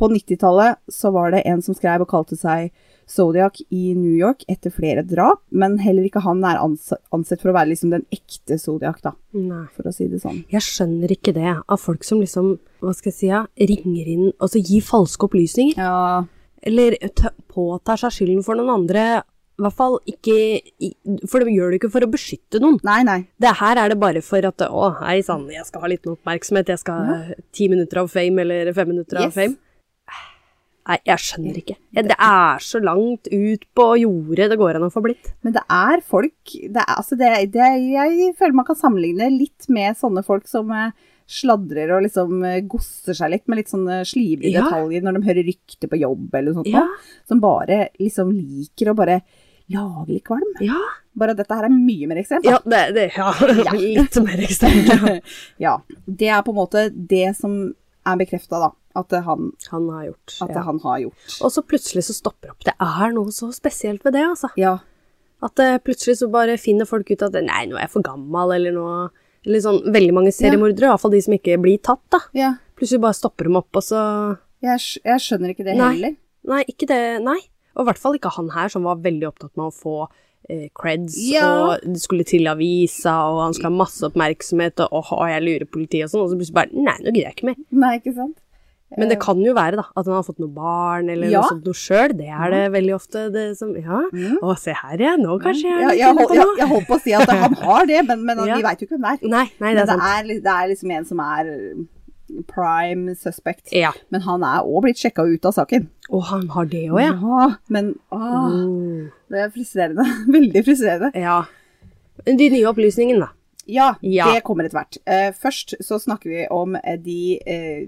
Speaker 1: På 90-tallet så var det en som skrev og kalte seg Zodiac i New York etter flere drap, men heller ikke han er anse- ansett for å være liksom den ekte Zodiac, da,
Speaker 2: Nei.
Speaker 1: for å si det sånn.
Speaker 2: Jeg skjønner ikke det av folk som liksom, hva skal jeg si, ja, ringer inn og så gir falske opplysninger.
Speaker 1: Ja,
Speaker 2: Eller t- påtar seg skylden for noen andre i hvert fall ikke i- For det gjør du ikke for å beskytte noen.
Speaker 1: Nei, nei.
Speaker 2: Det her er det bare for at Å, hei sann, jeg skal ha litt oppmerksomhet. Jeg skal ha ti minutter av fame eller fem minutter
Speaker 1: Yes.
Speaker 2: av fame. Nei, jeg skjønner ikke. Ja, Det er så langt ut på jordet det går an å få blitt.
Speaker 1: Men det er folk det er, altså det, det, Jeg føler man kan sammenligne litt med sånne folk som eh, sladrer og liksom eh, gosser seg litt med litt sånne slivige
Speaker 2: Ja.
Speaker 1: detaljer når de hører rykter på jobb eller noe sånt.
Speaker 2: Ja.
Speaker 1: Som bare liksom liker å bare lage litt kvalm.
Speaker 2: Ja,
Speaker 1: Bare at dette her er mye mer ekstremt. da.
Speaker 2: ja, det, det, ja. *laughs*
Speaker 1: Ja.
Speaker 2: litt mer ekstremt. ja.
Speaker 1: *laughs* ja. Det er på en måte det som er bekrefta, da. At det han,
Speaker 2: Han har gjort.
Speaker 1: at det
Speaker 2: Ja.
Speaker 1: han har gjort.
Speaker 2: Og så plutselig så stopper opp. Det er noe så spesielt ved det, altså.
Speaker 1: Ja.
Speaker 2: At eh, plutselig så bare finner folk ut at nei, nå er jeg for gammel, eller nå Eller sånn veldig mange seriemordere, i hvert fall de som ikke blir tatt, da.
Speaker 1: ja.
Speaker 2: Plutselig bare stopper de opp, og så
Speaker 1: Jeg, skj- jeg skjønner ikke det
Speaker 2: Nei.
Speaker 1: heller.
Speaker 2: Nei, ikke det. Nei. Og i hvert fall ikke han her, som var veldig opptatt med å få eh, creds,
Speaker 1: Ja.
Speaker 2: og det skulle til avisa, og han skulle ha masse oppmerksomhet, og åh, jeg lurer politiet og sånn, og så plutselig bare Nei, nå gidder jeg ikke mer.
Speaker 1: Nei, ikke sant?
Speaker 2: Men det kan jo være, da, at han har fått noe barn, eller
Speaker 1: Eh. Ja.
Speaker 2: noe sånt noe sjøl. Det er det veldig ofte det som Ja.
Speaker 1: Mhm.
Speaker 2: Å, se her, ja. Nå kanskje jeg
Speaker 1: Ja,
Speaker 2: er litt
Speaker 1: jeg,
Speaker 2: inne
Speaker 1: hol-
Speaker 2: på
Speaker 1: jeg,
Speaker 2: noe.
Speaker 1: jeg holdt på å si at
Speaker 2: *laughs*
Speaker 1: han har det, men, men
Speaker 2: Ja.
Speaker 1: vi veit jo ikke hvem det er.
Speaker 2: Nei, nei,
Speaker 1: Men
Speaker 2: det er sant.
Speaker 1: det, er, det er liksom en som er mm, prime suspect.
Speaker 2: Ja.
Speaker 1: Men han er òg blitt sjekka ut av saken.
Speaker 2: Å, han har det òg, ja.
Speaker 1: Men åh,
Speaker 2: Mm.
Speaker 1: det er frustrerende. *laughs* Veldig frustrerende.
Speaker 2: Ja. De nye opplysningene, da.
Speaker 1: Ja,
Speaker 2: Ja.
Speaker 1: det kommer etter hvert. Eh, først så snakker vi om eh, de eh,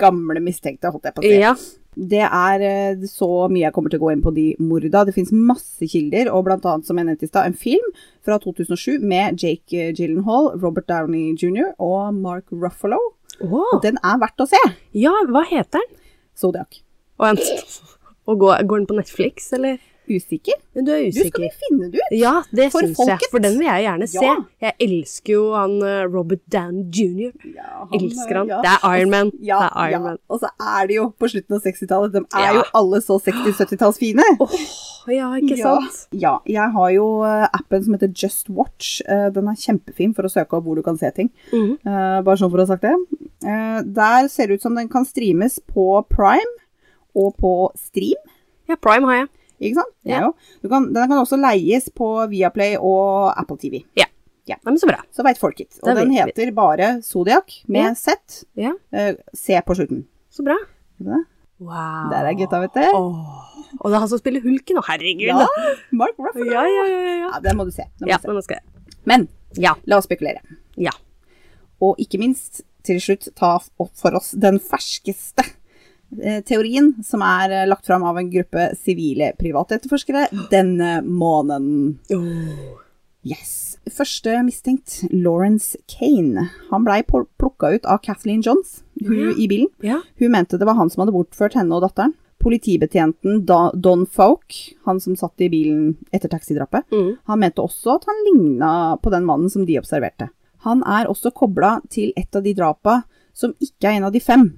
Speaker 1: gamle mistenkte, holdt jeg på å si.
Speaker 2: Ja.
Speaker 1: Det er eh, så mye jeg kommer til å gå inn på de morda. Det finnes masse kilder, og blant annet, som jeg nevnte i stad, en film fra 2007 med Jake eh, Gyllenhaal, Robert Downey jr. og Mark Ruffalo.
Speaker 2: Å,
Speaker 1: Den er verdt å se!
Speaker 2: ja, hva heter den?
Speaker 1: Zodiac.
Speaker 2: Å, vent. Og går, går den på Netflix, eller?
Speaker 1: Usikker?
Speaker 2: Men Du er
Speaker 1: Du skal
Speaker 2: usikker.
Speaker 1: vi finne det ut!
Speaker 2: Ja, det
Speaker 1: For
Speaker 2: syns jeg.
Speaker 1: folket.
Speaker 2: For den vil jeg gjerne se.
Speaker 1: Ja.
Speaker 2: Jeg elsker jo han eh, Robert Down jr.
Speaker 1: Ja, han,
Speaker 2: Elsker han.
Speaker 1: ja.
Speaker 2: Det er Iron Man.
Speaker 1: Ja,
Speaker 2: det er Iron
Speaker 1: ja.
Speaker 2: Man.
Speaker 1: Og så er de jo på slutten av 60-tallet. De er
Speaker 2: Ja.
Speaker 1: jo alle så
Speaker 2: *gasps*
Speaker 1: 60-70-tallsfine.
Speaker 2: Åh, ja, ikke
Speaker 1: Ja.
Speaker 2: sant?
Speaker 1: Ja, jeg har jo eh, appen som heter Just Watch. Eh, Den er kjempefin for å søke opp hvor du kan se ting.
Speaker 2: Mhm.
Speaker 1: Eh, Bare sånn for å ha sagt det. Eh, Der ser det ut som den kan streames på Prime og på Stream.
Speaker 2: Ja, Prime har jeg.
Speaker 1: Ikke sant? Det er
Speaker 2: Ja.
Speaker 1: jo- Du kan, den kan også leies på Viaplay og Apple TV.
Speaker 2: Nei, men så bra.
Speaker 1: Så veit folk it. Og
Speaker 2: Da
Speaker 1: den
Speaker 2: vet
Speaker 1: heter bare Zodiac med
Speaker 2: Ja.
Speaker 1: Z.
Speaker 2: Ja,
Speaker 1: Eh, C på slutten.
Speaker 2: så bra.
Speaker 1: Ser du det?
Speaker 2: Wow.
Speaker 1: Der er gutta, vet du.
Speaker 2: Åh. Og det er han som spiller hulken, og herregud.
Speaker 1: Ja,
Speaker 2: da.
Speaker 1: Mark Ruffalo.
Speaker 2: ja, ja, ja, ja.
Speaker 1: Ja, den må du se. Den må
Speaker 2: Ja,
Speaker 1: du se.
Speaker 2: men nå skal jeg.
Speaker 1: Men
Speaker 2: Ja,
Speaker 1: la oss spekulere.
Speaker 2: ja.
Speaker 1: Og ikke minst, til slutt, ta f- opp for oss den ferskeste eh, teorien som er eh, lagt fram av en gruppe sivile privatetterforskere denne måneden. Yes. Første mistenkt, Lawrence Kane. Han blei pol- plukka ut av Kathleen Johns hun, i bilen.
Speaker 2: Ja.
Speaker 1: Hun mente det var han som hadde bortført henne og datteren. Politibetjenten da, Don Falk, han som satt i bilen etter taxidrapet,
Speaker 2: Mm.
Speaker 1: han mente også at han ligna på den mannen som de observerte. Han er også kobla til et av de drapa som ikke er en av de fem.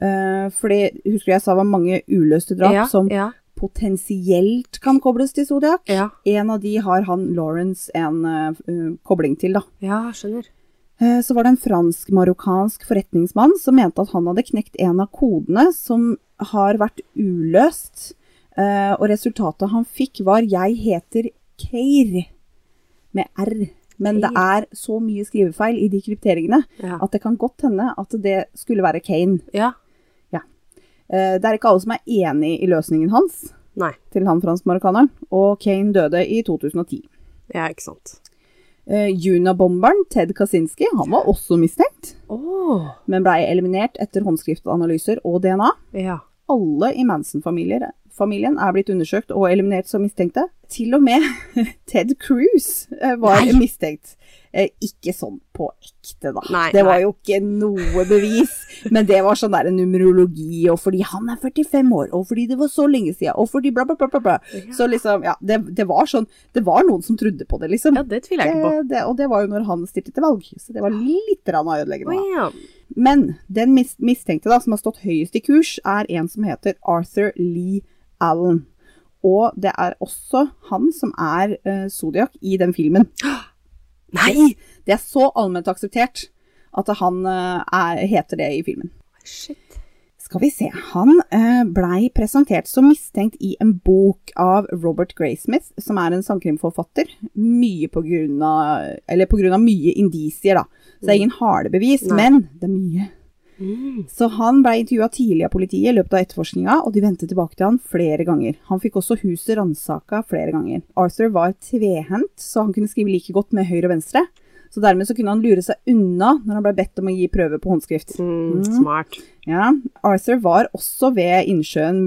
Speaker 1: Eh, fordi, husker du jeg sa det var mange uløste drap
Speaker 2: ja,
Speaker 1: som
Speaker 2: ja,
Speaker 1: potensielt kan kobles til Zodiac?
Speaker 2: ja,
Speaker 1: En av de har han Lawrence en eh, f- eh, kobling til, da.
Speaker 2: ja, skjønner.
Speaker 1: Eh, Så var det en fransk-marokkansk forretningsmann som mente at han hadde knekt en av kodene som har vært uløst, eh, og resultatet han fikk var 'jeg heter Keir' med R. Men det er så mye skrivefeil i de krypteringene
Speaker 2: Ja.
Speaker 1: at det kan godt hende at det skulle være Kane.
Speaker 2: ja.
Speaker 1: Eh, Det er ikke alle som er enig i løsningen hans
Speaker 2: Nei,
Speaker 1: til han fransk-marokkaneren, og Kane døde i 2010.
Speaker 2: ja, ikke sant.
Speaker 1: Eh, Junabomberen Ted Kaczynski han var også mistenkt,
Speaker 2: Åh,
Speaker 1: men blei eliminert etter håndskriftanalyser og DNA.
Speaker 2: ja.
Speaker 1: Alle i Manson-familien familien er blitt undersøkt og eliminert som mistenkte. Til og med *laughs* Ted Cruz eh, var
Speaker 2: Nei.
Speaker 1: mistenkt. Eh, Ikke sånn på ekte, da.
Speaker 2: Nei,
Speaker 1: det var
Speaker 2: nei.
Speaker 1: jo ikke noe bevis. Men det var sånn der numerologi, og fordi han er 45 år, og fordi det var så lenge siden, og fordi bla, bla, bla, bla. bla. Så liksom, ja, det, det var sånn Det var noen som trodde på det, liksom.
Speaker 2: Ja, det tviler jeg ikke på.
Speaker 1: Det, det, og det var jo når han stilte til valg, så det var litt rann av ødeleggende.
Speaker 2: Åh,
Speaker 1: da.
Speaker 2: ja.
Speaker 1: Men den mis mistenkte da, som har stått høyest i kurs, er en som heter Arthur Lee Allen. Og det er også han som er uh, Zodiac i den filmen.
Speaker 2: Nei!
Speaker 1: Det er så allment akseptert at han eh, er, heter det i filmen.
Speaker 2: Shit.
Speaker 1: Skal vi se. Han eh, blei presentert som mistenkt i en bok av Robert Graysmith, som er en sandkrimforfatter. Mye på grunn av Eller på grunn av mye indisier, da. Så det er ingen harde bevis,
Speaker 2: Nei.
Speaker 1: men det er mye. Så han ble intervjua tidlig av politiet i løpet av etterforskninga, og de vendte tilbake til han flere ganger. Han fikk også huset ransaka flere ganger. Arthur var tvehendt, så han kunne skrive like godt med høyre og venstre. Så dermed så kunne han lure seg unna når han ble bedt om å gi prøve på håndskrift.
Speaker 2: Mm, smart.
Speaker 1: Ja, Arthur var også ved innsjøen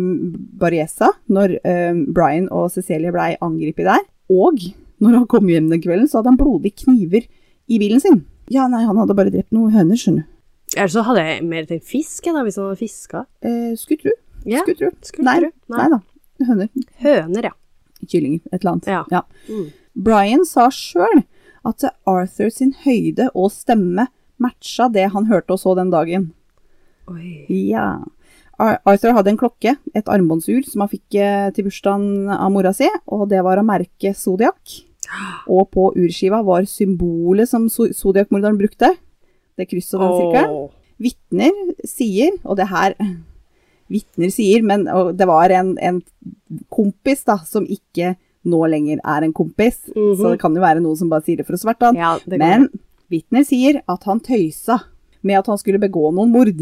Speaker 1: Barriessa når eh, Brian og Cecilie blei angrepet der. Og når han kom hjem den kvelden, så hadde han blodige kniver i bilen sin. Ja, nei, han hadde bare drept noen høner, skjønner du.
Speaker 2: Ellers så hadde jeg mer tenkt fisk, jeg, da, hvis han hadde fiska.
Speaker 1: Eh, skulle tru.
Speaker 2: Ja,
Speaker 1: Skulle tru.
Speaker 2: skulle
Speaker 1: Nei,
Speaker 2: tro.
Speaker 1: nei da. Høner.
Speaker 2: Høner, ja.
Speaker 1: Kyllinger. Et eller annet.
Speaker 2: Ja. Mm.
Speaker 1: Brian sa sjøl at Arthur sin høyde og stemme matcha det han hørte og så den dagen.
Speaker 2: Oi.
Speaker 1: Ja. Ar- Arthur hadde en klokke, et armbåndsur, som han fikk eh, til bursdagen av mora si, og det var av merket
Speaker 2: *gasps*
Speaker 1: Zodiac. Og på urskiva var symbolet som so- Zodiac-morderen brukte, det krysset og den sirkelen.
Speaker 2: Åh.
Speaker 1: Vitner sier, og det her *clears throat* Vitner sier, men og det var en, en kompis da, som ikke nå lenger er en kompis,
Speaker 2: Mhm.
Speaker 1: så det kan jo være noen som bare sier det for å sverte han.
Speaker 2: Ja, det går
Speaker 1: Men vitner sier at han tøysa med at han skulle begå noen mord.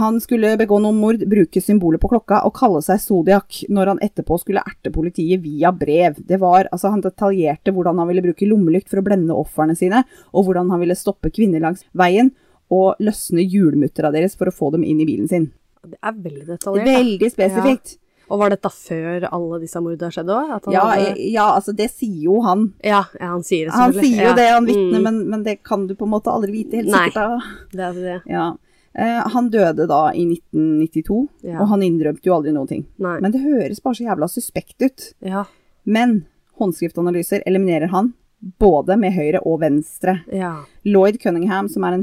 Speaker 1: Han skulle begå noen mord, bruke symbolet på klokka og kalle seg Zodiac når han etterpå skulle erte politiet via brev. Det var, altså Han detaljerte hvordan han ville bruke lommelykt for å blende ofrene sine, og hvordan han ville stoppe kvinner langs veien og løsne hjulmuttera deres for å få dem inn i bilen sin.
Speaker 2: Det er veldig detaljert. da.
Speaker 1: Veldig spesifikt.
Speaker 2: Og var dette før alle disse mordene skjedde òg?
Speaker 1: Ja, ja, altså det sier jo han.
Speaker 2: ja, ja, han sier det
Speaker 1: Han
Speaker 2: selvfølgelig.
Speaker 1: sier jo
Speaker 2: ja.
Speaker 1: det, han vitner,
Speaker 2: Mm,
Speaker 1: men, men det kan du på en måte aldri vite helt
Speaker 2: Nei.
Speaker 1: sikkert. da.
Speaker 2: det er det.
Speaker 1: Ja. Eh, han døde da i 1992,
Speaker 2: Ja.
Speaker 1: og han innrømte jo aldri noen ting.
Speaker 2: Nei.
Speaker 1: Men det høres bare så jævla suspekt ut.
Speaker 2: ja,
Speaker 1: Men håndskriftanalyser eliminerer han, både med høyre og venstre.
Speaker 2: ja.
Speaker 1: Lloyd Cunningham, som er en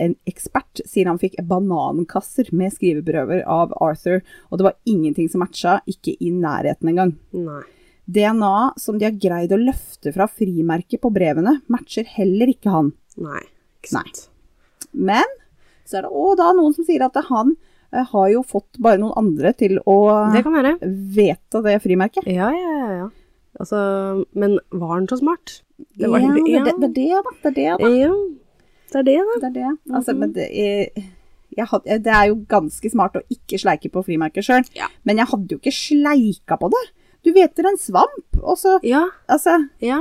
Speaker 1: håndskriftekspert, sier han fikk banankasser med skriveprøver av Arthur, og det var ingenting som matcha, ikke i nærheten engang.
Speaker 2: Nei.
Speaker 1: DNA som de har greid å løfte fra frimerket på brevene, matcher heller ikke han.
Speaker 2: Nei. Ikke sant.
Speaker 1: Men så er det også da noen som sier at han eh, har jo fått bare noen andre til å
Speaker 2: Det kan være.
Speaker 1: vedta det frimerket.
Speaker 2: Ja, ja, ja, ja. Altså, men var han så smart? Det var-
Speaker 1: ja, det, er
Speaker 2: ja.
Speaker 1: det, det er det, da. Det er det, da.
Speaker 2: Ja. Det er det, da.
Speaker 1: Det er det. Altså, men det er, jeg had, det er jo ganske smart å ikke sleike på frimerket sjøl,
Speaker 2: Ja.
Speaker 1: men jeg hadde jo ikke sleika på det. Du hveter en svamp, og så
Speaker 2: Ja.
Speaker 1: Altså,
Speaker 2: Ja.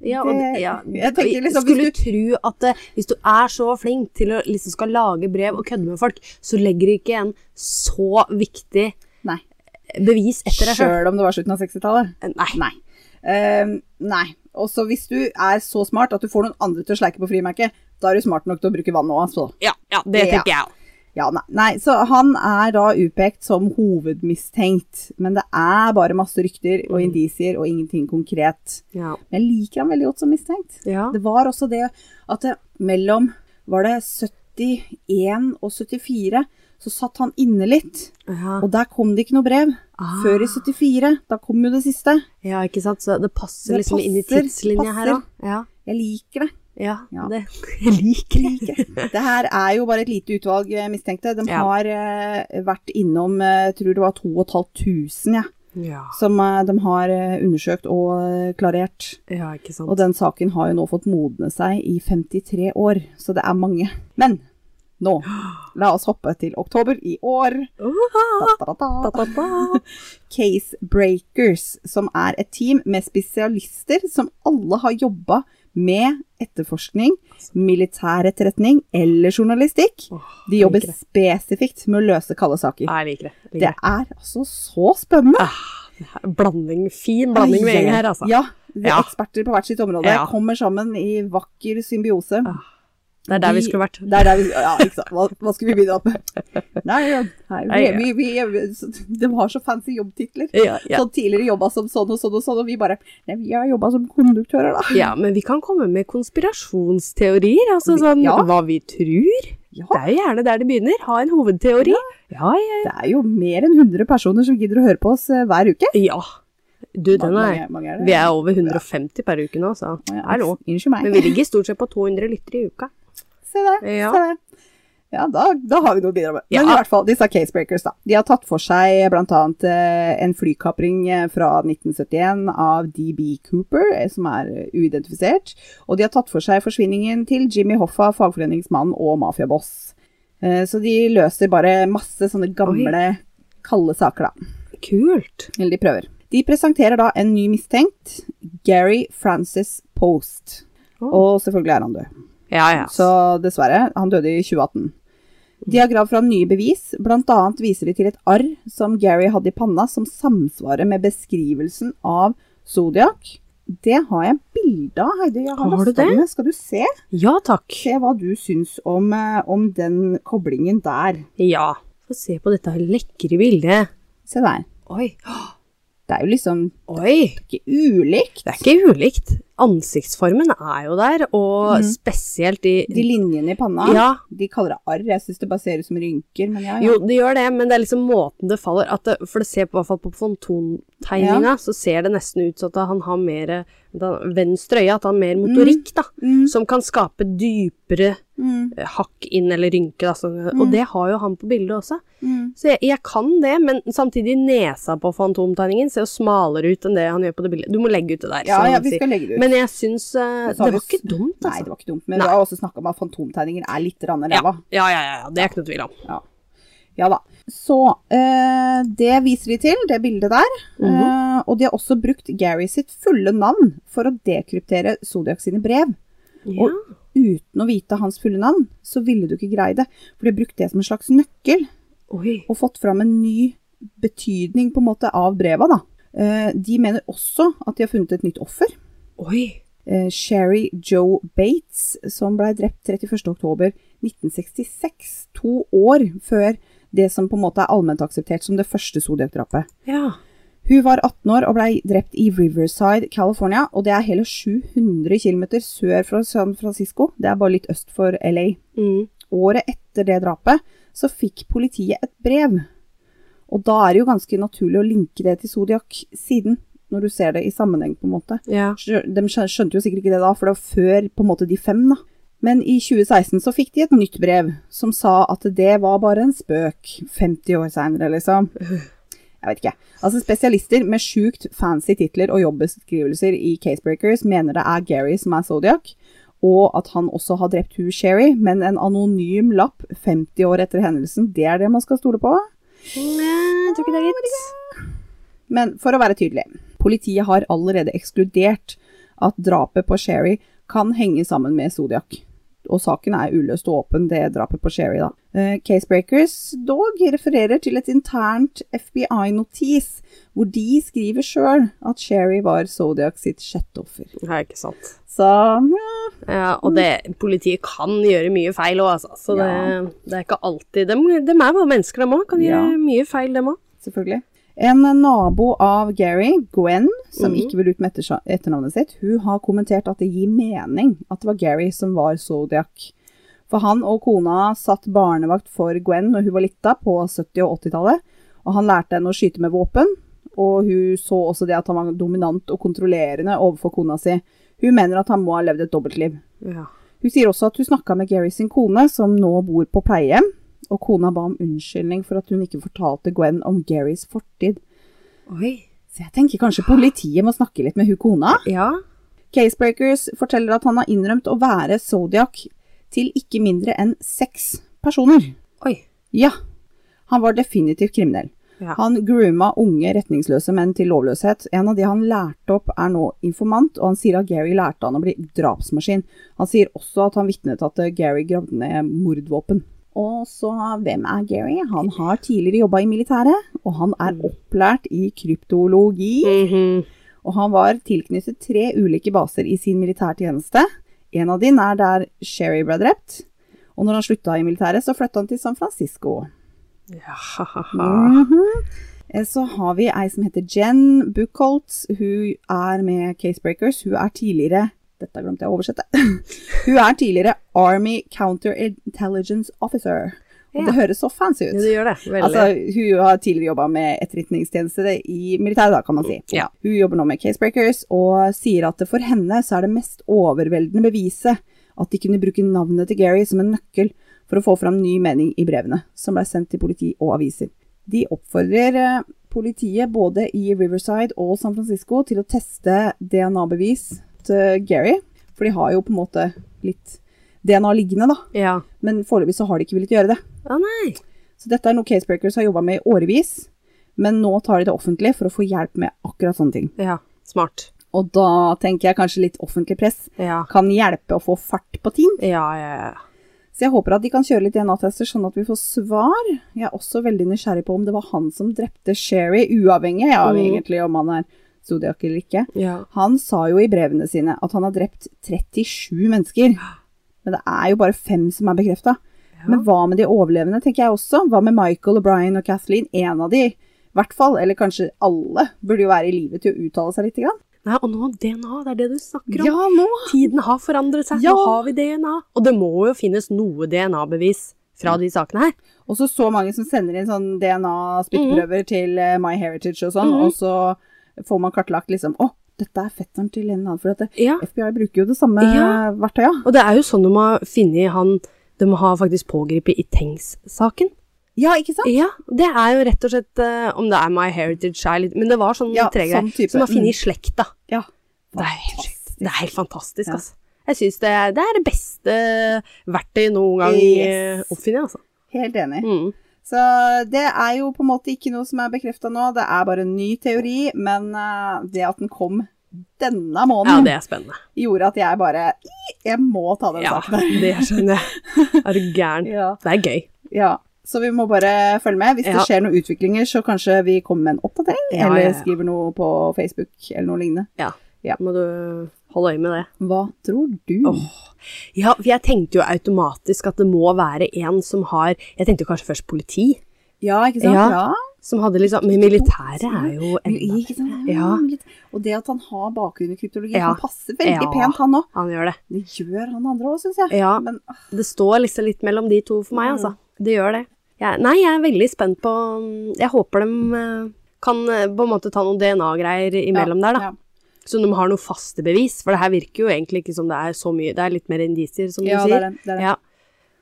Speaker 2: Ja, og
Speaker 1: Det-
Speaker 2: det, ja.
Speaker 1: jeg tenker liksom,
Speaker 2: skulle
Speaker 1: hvis
Speaker 2: tro at eh, hvis du er så flink til å liksom skal lage brev og kødde med folk, så legger du ikke igjen så viktig
Speaker 1: Nei.
Speaker 2: bevis etter deg sjøl.
Speaker 1: sjøl om det var slutten av 60-tallet.
Speaker 2: Nei.
Speaker 1: Nei. Ehm, nei. Og så hvis du er så smart at du får noen andre til å sleike på frimerket, da er du smart nok til å bruke vann òg, altså.
Speaker 2: Ja, ja, det
Speaker 1: Ja.
Speaker 2: tenker jeg òg.
Speaker 1: Ja, nei. nei. Så han er da utpekt som hovedmistenkt. Men det er bare masse rykter og indisier og ingenting konkret.
Speaker 2: Ja.
Speaker 1: Men jeg liker ham veldig godt som mistenkt.
Speaker 2: Ja.
Speaker 1: Det var også det at det, mellom var det 71 og 74 så satt han inne litt.
Speaker 2: ja.
Speaker 1: Og der kom det ikke noe brev.
Speaker 2: Ah.
Speaker 1: Før i 74. Da kom jo det siste.
Speaker 2: ja, ikke sant. Så det passer
Speaker 1: Det
Speaker 2: liksom inn i
Speaker 1: passer,
Speaker 2: tidslinja her
Speaker 1: passer.
Speaker 2: òg. Ja.
Speaker 1: Jeg liker det.
Speaker 2: Ja,
Speaker 1: Ja.
Speaker 2: det *laughs* Jeg liker det.
Speaker 1: Det her er jo bare et lite utvalg eh, mistenkte. De
Speaker 2: Ja.
Speaker 1: har eh, vært innom, eh, tror det var 2500, ja.
Speaker 2: Ja,
Speaker 1: som eh, de har eh, undersøkt og eh, klarert.
Speaker 2: ja ikke sant.
Speaker 1: Og den saken har jo nå fått modne seg i 53 år, så det er mange. Men nå, la oss hoppe til oktober i år.
Speaker 2: Uha,
Speaker 1: Ta-ta-ta.
Speaker 2: ta, ta, ta.
Speaker 1: Case Breakers, som er et team med spesialister som alle har jobba med etterforskning, militær etterretning eller journalistikk.
Speaker 2: Åh,
Speaker 1: De jobber
Speaker 2: liker det.
Speaker 1: spesifikt med å løse kalde saker.
Speaker 2: Jeg liker det. Jeg
Speaker 1: Det
Speaker 2: Liker det.
Speaker 1: er altså så spennende!
Speaker 2: Blanding, fin blanding med gjeng her, altså.
Speaker 1: Ja. de er
Speaker 2: Ja.
Speaker 1: Eksperter på hvert sitt område
Speaker 2: Ja.
Speaker 1: kommer sammen i vakker symbiose.
Speaker 2: Ah, Det er der vi
Speaker 1: De-
Speaker 2: skulle vært.
Speaker 1: Det er der vi, ja, ikke sant. Hva, hva skulle vi begynne opp med?
Speaker 2: *laughs*
Speaker 1: Nei, nei,
Speaker 2: Nei,
Speaker 1: vi, vi, vi, de har så fancy jobbtitler.
Speaker 2: Ja, ja.
Speaker 1: Sånn tidligere jobba som sånn og sånn og sånn, og vi bare Nei, vi har jobba som konduktører, da.
Speaker 2: ja, men vi kan komme med konspirasjonsteorier, altså
Speaker 1: Vi-
Speaker 2: sånn
Speaker 1: ja.
Speaker 2: hva vi tror.
Speaker 1: Ja,
Speaker 2: Det er jo gjerne der det begynner. Ha en hovedteori. Ja, ja.
Speaker 1: det er jo mer enn 100 personer som gidder å høre på oss eh, hver uke.
Speaker 2: ja. Du, den er
Speaker 1: Mange- mange
Speaker 2: Vi er over 150 per uke nå, så
Speaker 1: Ja,
Speaker 2: hallo.
Speaker 1: Unnskyld
Speaker 2: Men
Speaker 1: meg.
Speaker 2: vi ligger stort sett på 200 lyttere i uka.
Speaker 1: Se det.
Speaker 2: Ja.
Speaker 1: Se det. Ja, da, da har vi noe å bidra med.
Speaker 2: Ja.
Speaker 1: Men i hvert fall, disse casebreakers, da. De har tatt for seg bl.a. en flykapring eh, fra 1971 av DB Cooper, eh, som er eh, uidentifisert. Og de har tatt for seg forsvinningen til Jimmy Hoffa, fagforeningsmann og mafiaboss. Eh, Så de løser bare masse sånne gamle, kalde saker, da.
Speaker 2: Kult.
Speaker 1: Eller de prøver. De presenterer da en ny mistenkt, Gary Francis Post.
Speaker 2: Å.
Speaker 1: Og selvfølgelig er han død.
Speaker 2: Ja, ja.
Speaker 1: Så dessverre, han døde i 2018. De har gravd fram nye bevis, blant annet viser de til et arr som Gary hadde i panna, som samsvarer med beskrivelsen av Zodiac. Det har jeg bilde av, Heidi. Jeg har
Speaker 2: Har du
Speaker 1: lastet den ned. Skal du se?
Speaker 2: ja takk.
Speaker 1: Se hva du syns om, eh, om den koblingen der.
Speaker 2: Ja. Få se på dette lekre bildet.
Speaker 1: Se der.
Speaker 2: Oi.
Speaker 1: Det er jo liksom
Speaker 2: Oi.
Speaker 1: ikke ulikt.
Speaker 2: Det er ikke ulikt. Ansiktsformen er jo der, og spesielt i
Speaker 1: De linjene i panna,
Speaker 2: Ja.
Speaker 1: de kaller det arr. Jeg syns det bare ser ut som rynker, men ja, ja.
Speaker 2: Jo, det gjør det, men det er liksom måten det faller at det, For det ser på, i hvert fall på fontontegninga, så ser det nesten ut som at han har mer eh, da- venstre øye, at han har mer motorikk, da.
Speaker 1: Mm,
Speaker 2: Som kan skape dypere
Speaker 1: mm,
Speaker 2: eh, hakk inn eller rynker, da. Så, og det har jo han på bildet også.
Speaker 1: mm.
Speaker 2: Så jeg, jeg kan det, men samtidig nesa på fantomtegningen ser jo smalere ut enn det han gjør på det bildet. Du må legge ut det der.
Speaker 1: Ja,
Speaker 2: som
Speaker 1: ja,
Speaker 2: han
Speaker 1: vi
Speaker 2: sier.
Speaker 1: skal legge det ut.
Speaker 2: Men jeg syns eh,
Speaker 1: Og så har vi
Speaker 2: Det var ikke
Speaker 1: s-
Speaker 2: dumt,
Speaker 1: Nei,
Speaker 2: altså.
Speaker 1: det var ikke dumt, men
Speaker 2: Nei.
Speaker 1: vi har også snakka om at fantomtegninger er litt rann ræva.
Speaker 2: Ja, ja, ja, ja, det er ikke noe tvil om.
Speaker 1: Ja. ja da. Så eh, det viser de til, det bildet der.
Speaker 2: Mhm.
Speaker 1: Eh, og de har også brukt Gary sitt fulle navn for å dekryptere Zodiac sine brev.
Speaker 2: Ja.
Speaker 1: Og uten å vite hans fulle navn, så ville du ikke greie det. For de har brukt det som en slags nøkkel.
Speaker 2: Oi.
Speaker 1: og fått fram en ny betydning på en måte av breva. Da. Eh, De mener også at de har funnet et nytt offer.
Speaker 2: Oi.
Speaker 1: Eh, Sherry Joe Bates, som ble drept 31.10.1966, to år før det som på en måte er allment akseptert som det første Zodiac-drapet.
Speaker 2: Ja.
Speaker 1: Hun var 18 år og ble drept i Riverside, California, og det er hele 700 km sør fra San Francisco. Det er bare litt øst for LA.
Speaker 2: Mm.
Speaker 1: Året etter det drapet så fikk politiet et brev. Og da er det jo ganske naturlig å linke det til Zodiac siden, når du ser det i sammenheng, på en måte.
Speaker 2: Ja.
Speaker 1: Skjø- De skjø- skjønte jo sikkert ikke det da, for det var før på en måte de fem, da. Men i 2016 så fikk de et nytt brev som sa at det var bare en spøk. 50 år seinere, liksom. Jeg vet ikke. Altså, spesialister med sjukt fancy titler og jobbeskrivelser i Casebreakers mener det er Gary som er Zodiac, og at han også har drept hun Sherry, men en anonym lapp 50 år etter hendelsen, det er det man skal stole på.
Speaker 2: Nei, jeg tror ikke det er gitt.
Speaker 1: Men for å være tydelig, politiet har allerede ekskludert at drapet på Sherry kan henge sammen med Zodiac. Og saken er uløst og åpen, det drapet på Sherry, da. Eh, Casebreakers dog refererer til et internt FBI-notis, hvor de skriver sjøl at Sherry var Zodiac sitt sjette offer.
Speaker 2: Ja, ikke sant.
Speaker 1: Så hm. ja,
Speaker 2: Ja, og det, politiet kan gjøre mye feil òg, altså. Så
Speaker 1: Ja.
Speaker 2: det, det er ikke alltid Dem dem er bare mennesker, dem òg. Kan gjøre
Speaker 1: Ja.
Speaker 2: mye feil, dem òg.
Speaker 1: selvfølgelig. En nabo av Gary, Gwen, som ikke vil ut med etters- etternavnet sitt, hun har kommentert at det gir mening at det var Gary som var Zodiac. For han og kona satt barnevakt for Gwen når hun var lita, på 70- og 80-tallet. Og han lærte henne å skyte med våpen, og hun så også det at han var dominant og kontrollerende overfor kona si. Hun mener at han må ha levd et dobbeltliv.
Speaker 2: Ja.
Speaker 1: Hun sier også at hun snakka med Gary sin kone, som nå bor på pleiehjem, og kona ba om unnskyldning for at hun ikke fortalte Gwen om Garys fortid.
Speaker 2: Oi.
Speaker 1: Så jeg tenker kanskje politiet må snakke litt med hun kona.
Speaker 2: Ja.
Speaker 1: Casebreakers forteller at han har innrømt å være Zodiac til ikke mindre enn seks personer.
Speaker 2: Oi.
Speaker 1: Ja, han var definitivt kriminell.
Speaker 2: Ja.
Speaker 1: Han grooma unge retningsløse menn til lovløshet. En av de han lærte opp er nå informant, og han sier at Gary lærte han å bli drapsmaskin. Han sier også at han vitnet at eh, Gary gravde ned mordvåpen. Og så, hvem er Gary? Han har tidligere jobba i militæret, og han er opplært i kryptologi.
Speaker 2: Mhm.
Speaker 1: Og han var tilknyttet tre ulike baser i sin militærtjeneste. En av dem er der Sherry ble drept. Og når han slutta i militæret, så flytta han til San Francisco.
Speaker 2: ja ha, ha, ha.
Speaker 1: Mhm. Eh, Så har vi ei som heter Jen Buchholz. Hun er med Casebreakers. Hun er tidligere Dette glemte jeg å oversette. *laughs* Hun er tidligere Army Counterintelligence Officer. Og det
Speaker 2: Ja.
Speaker 1: høres så fancy
Speaker 2: ja, det
Speaker 1: ut.
Speaker 2: gjør det. Veldig.
Speaker 1: Altså, hun har tidligere jobba med etterretningstjeneste i militæret, da, kan man si.
Speaker 2: ja.
Speaker 1: Hun jobber nå med Casebreakers og sier at for henne så er det mest overveldende beviset at de kunne bruke navnet til Gary som en nøkkel for å få fram ny mening i brevene, som ble sendt til politi og aviser. De oppfordrer eh, politiet både i Riverside og San Francisco til å teste DNA-bevis til Gary, for de har jo på en måte litt DNA liggende, da.
Speaker 2: Ja.
Speaker 1: Men foreløpig så har de ikke villet gjøre det.
Speaker 2: Å nei!
Speaker 1: Så dette er noe Casebreakers har jobba med i årevis, men nå tar de det offentlig for å få hjelp med akkurat sånne ting.
Speaker 2: Ja. Smart.
Speaker 1: Og da tenker jeg kanskje litt offentlig press
Speaker 2: Ja.
Speaker 1: kan hjelpe å få fart på ting.
Speaker 2: Ja, ja, ja.
Speaker 1: Så jeg håper at de kan kjøre litt DNA-tester sånn at vi får svar. Jeg er også veldig nysgjerrig på om det var han som drepte Sherry, uavhengig av
Speaker 2: Mm.
Speaker 1: egentlig om han er zodiac eller ikke.
Speaker 2: ja.
Speaker 1: Han sa jo i brevene sine at han har drept 37 mennesker. Men det er jo bare fem som er bekrefta. Men hva med de overlevende, tenker jeg også. Hva med Michael og Brian og Kathleen? En av de, i hvert fall, eller kanskje alle, burde jo være i live til å uttale seg litt. Grann.
Speaker 2: Nei, og nå DNA, det er det du snakker om.
Speaker 1: Ja, nå!
Speaker 2: Tiden har forandret seg,
Speaker 1: Ja.
Speaker 2: nå har vi DNA. Og det må jo finnes noe DNA-bevis fra de sakene her.
Speaker 1: Og så så mange som sender inn sånn
Speaker 2: Mm.
Speaker 1: DNA-spyttprøver til eh, MyHeritage og sånn,
Speaker 2: Mhm.
Speaker 1: og så får man kartlagt liksom Å, dette er fetteren til en annen, for at eh, det-
Speaker 2: Ja.
Speaker 1: FBI bruker jo det samme
Speaker 2: Ja.
Speaker 1: verktøyet.
Speaker 2: Og det er jo sånn de har funnet han De har faktisk pågrepet i Tengs-saken.
Speaker 1: Ja, ikke sant?
Speaker 2: Ja, det er jo rett og slett eh, Om det er My Heritage er litt Men det var sånn
Speaker 1: Ja,
Speaker 2: tregreier.
Speaker 1: sånn type.
Speaker 2: som har funnet i
Speaker 1: Mm.
Speaker 2: slekta.
Speaker 1: Ja.
Speaker 2: Det er helt sjukt. Det er helt fantastisk,
Speaker 1: Ja.
Speaker 2: altså. Jeg syns det, er- det er det beste verktøyet noen gang
Speaker 1: Yes.
Speaker 2: yes. oppfinner, altså.
Speaker 1: Helt enig.
Speaker 2: Mm.
Speaker 1: Så det er jo på en måte ikke noe som er bekrefta nå, det er bare en ny teori, men eh, det at den kom denne
Speaker 2: Ja,
Speaker 1: måneden,
Speaker 2: det er spennende.
Speaker 1: gjorde at jeg bare "I, Jeg må ta den
Speaker 2: Ja,
Speaker 1: saken der.
Speaker 2: *laughs* det skjønner jeg. Er du *laughs* gæren?
Speaker 1: Ja.
Speaker 2: Det er gøy.
Speaker 1: Ja, så vi må bare følge med. Hvis
Speaker 2: Ja.
Speaker 1: det skjer noen utviklinger, så kanskje vi kommer med en oppdatering,
Speaker 2: Ja,
Speaker 1: eller
Speaker 2: ja, ja.
Speaker 1: skriver noe på Facebook, eller noe lignende.
Speaker 2: Ja.
Speaker 1: Ja.
Speaker 2: Må du holde øye med det.
Speaker 1: Hva tror du?
Speaker 2: Ja, for jeg tenkte jo automatisk at det må være en som har Jeg tenkte jo kanskje først politi.
Speaker 1: Ja, ikke sant?
Speaker 2: Ja.
Speaker 1: Ja.
Speaker 2: Som hadde liksom Men militæret er jo
Speaker 1: Men
Speaker 2: enda
Speaker 1: Ikke sant?
Speaker 2: Ja.
Speaker 1: men litt- Og det at han har bakgrunn i kryptologi,
Speaker 2: Ja.
Speaker 1: han passer veldig
Speaker 2: Ja.
Speaker 1: pent, han òg.
Speaker 2: Han gjør det.
Speaker 1: Det gjør han andre òg, syns jeg.
Speaker 2: Ja.
Speaker 1: Men ah,
Speaker 2: Det står liksom litt mellom de to for meg, altså. Det gjør det. Jeg, nei, jeg er veldig spent på mm, Jeg håper de eh, kan eh, på en måte ta noen DNA-greier imellom der, da.
Speaker 1: ja.
Speaker 2: Så de har noe faste bevis, for det her virker jo egentlig ikke som det er så mye Det er litt mer indisier, som
Speaker 1: Ja, det
Speaker 2: du sier.
Speaker 1: er det. det, er det.
Speaker 2: Ja.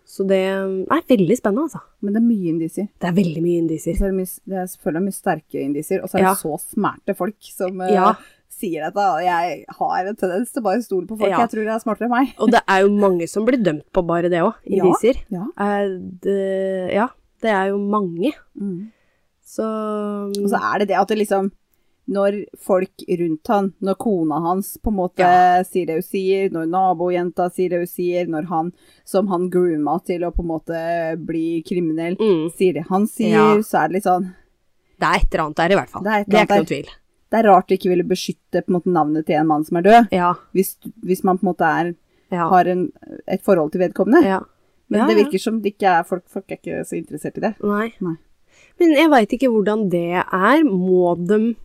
Speaker 2: Så det mm, er veldig spennende, altså.
Speaker 1: Men det er mye indisier.
Speaker 2: Det er veldig mye indisier.
Speaker 1: Så er det, mye, det er selvfølgelig mye sterke indisier, og så er
Speaker 2: Ja.
Speaker 1: det så smerte folk som eh,
Speaker 2: Ja.
Speaker 1: sier dette. Og jeg har en tendens til bare å stole på folk
Speaker 2: Ja.
Speaker 1: jeg tror er smartere enn meg.
Speaker 2: Og det er jo mange som blir dømt på bare det òg,
Speaker 1: Ja.
Speaker 2: indisier.
Speaker 1: Ja.
Speaker 2: Eh, det- Ja, det er jo mange.
Speaker 1: Mm.
Speaker 2: Så mm,
Speaker 1: Og så er det det at det liksom Når folk rundt han, når kona hans på en måte sier det hun sier, når nabojenta sier det hun sier, når han som han grooma til å på en måte bli kriminell,
Speaker 2: mm,
Speaker 1: sier det han sier,
Speaker 2: Ja.
Speaker 1: så er det litt sånn
Speaker 2: Det er et eller annet der, i hvert fall.
Speaker 1: Det er et
Speaker 2: det er
Speaker 1: eller
Speaker 2: ikke noen
Speaker 1: annet
Speaker 2: tvil.
Speaker 1: Det er rart du ikke ville beskytte på en måte navnet til en mann som er død,
Speaker 2: Ja.
Speaker 1: hvis, hvis man på en måte er,
Speaker 2: ja.
Speaker 1: har en, et forhold til vedkommende.
Speaker 2: Ja.
Speaker 1: Men
Speaker 2: Ja,
Speaker 1: det
Speaker 2: ja.
Speaker 1: virker som det ikke er folk, folk er ikke så interessert i det.
Speaker 2: Nei.
Speaker 1: Nei.
Speaker 2: Men jeg veit ikke hvordan det er. Må, dem-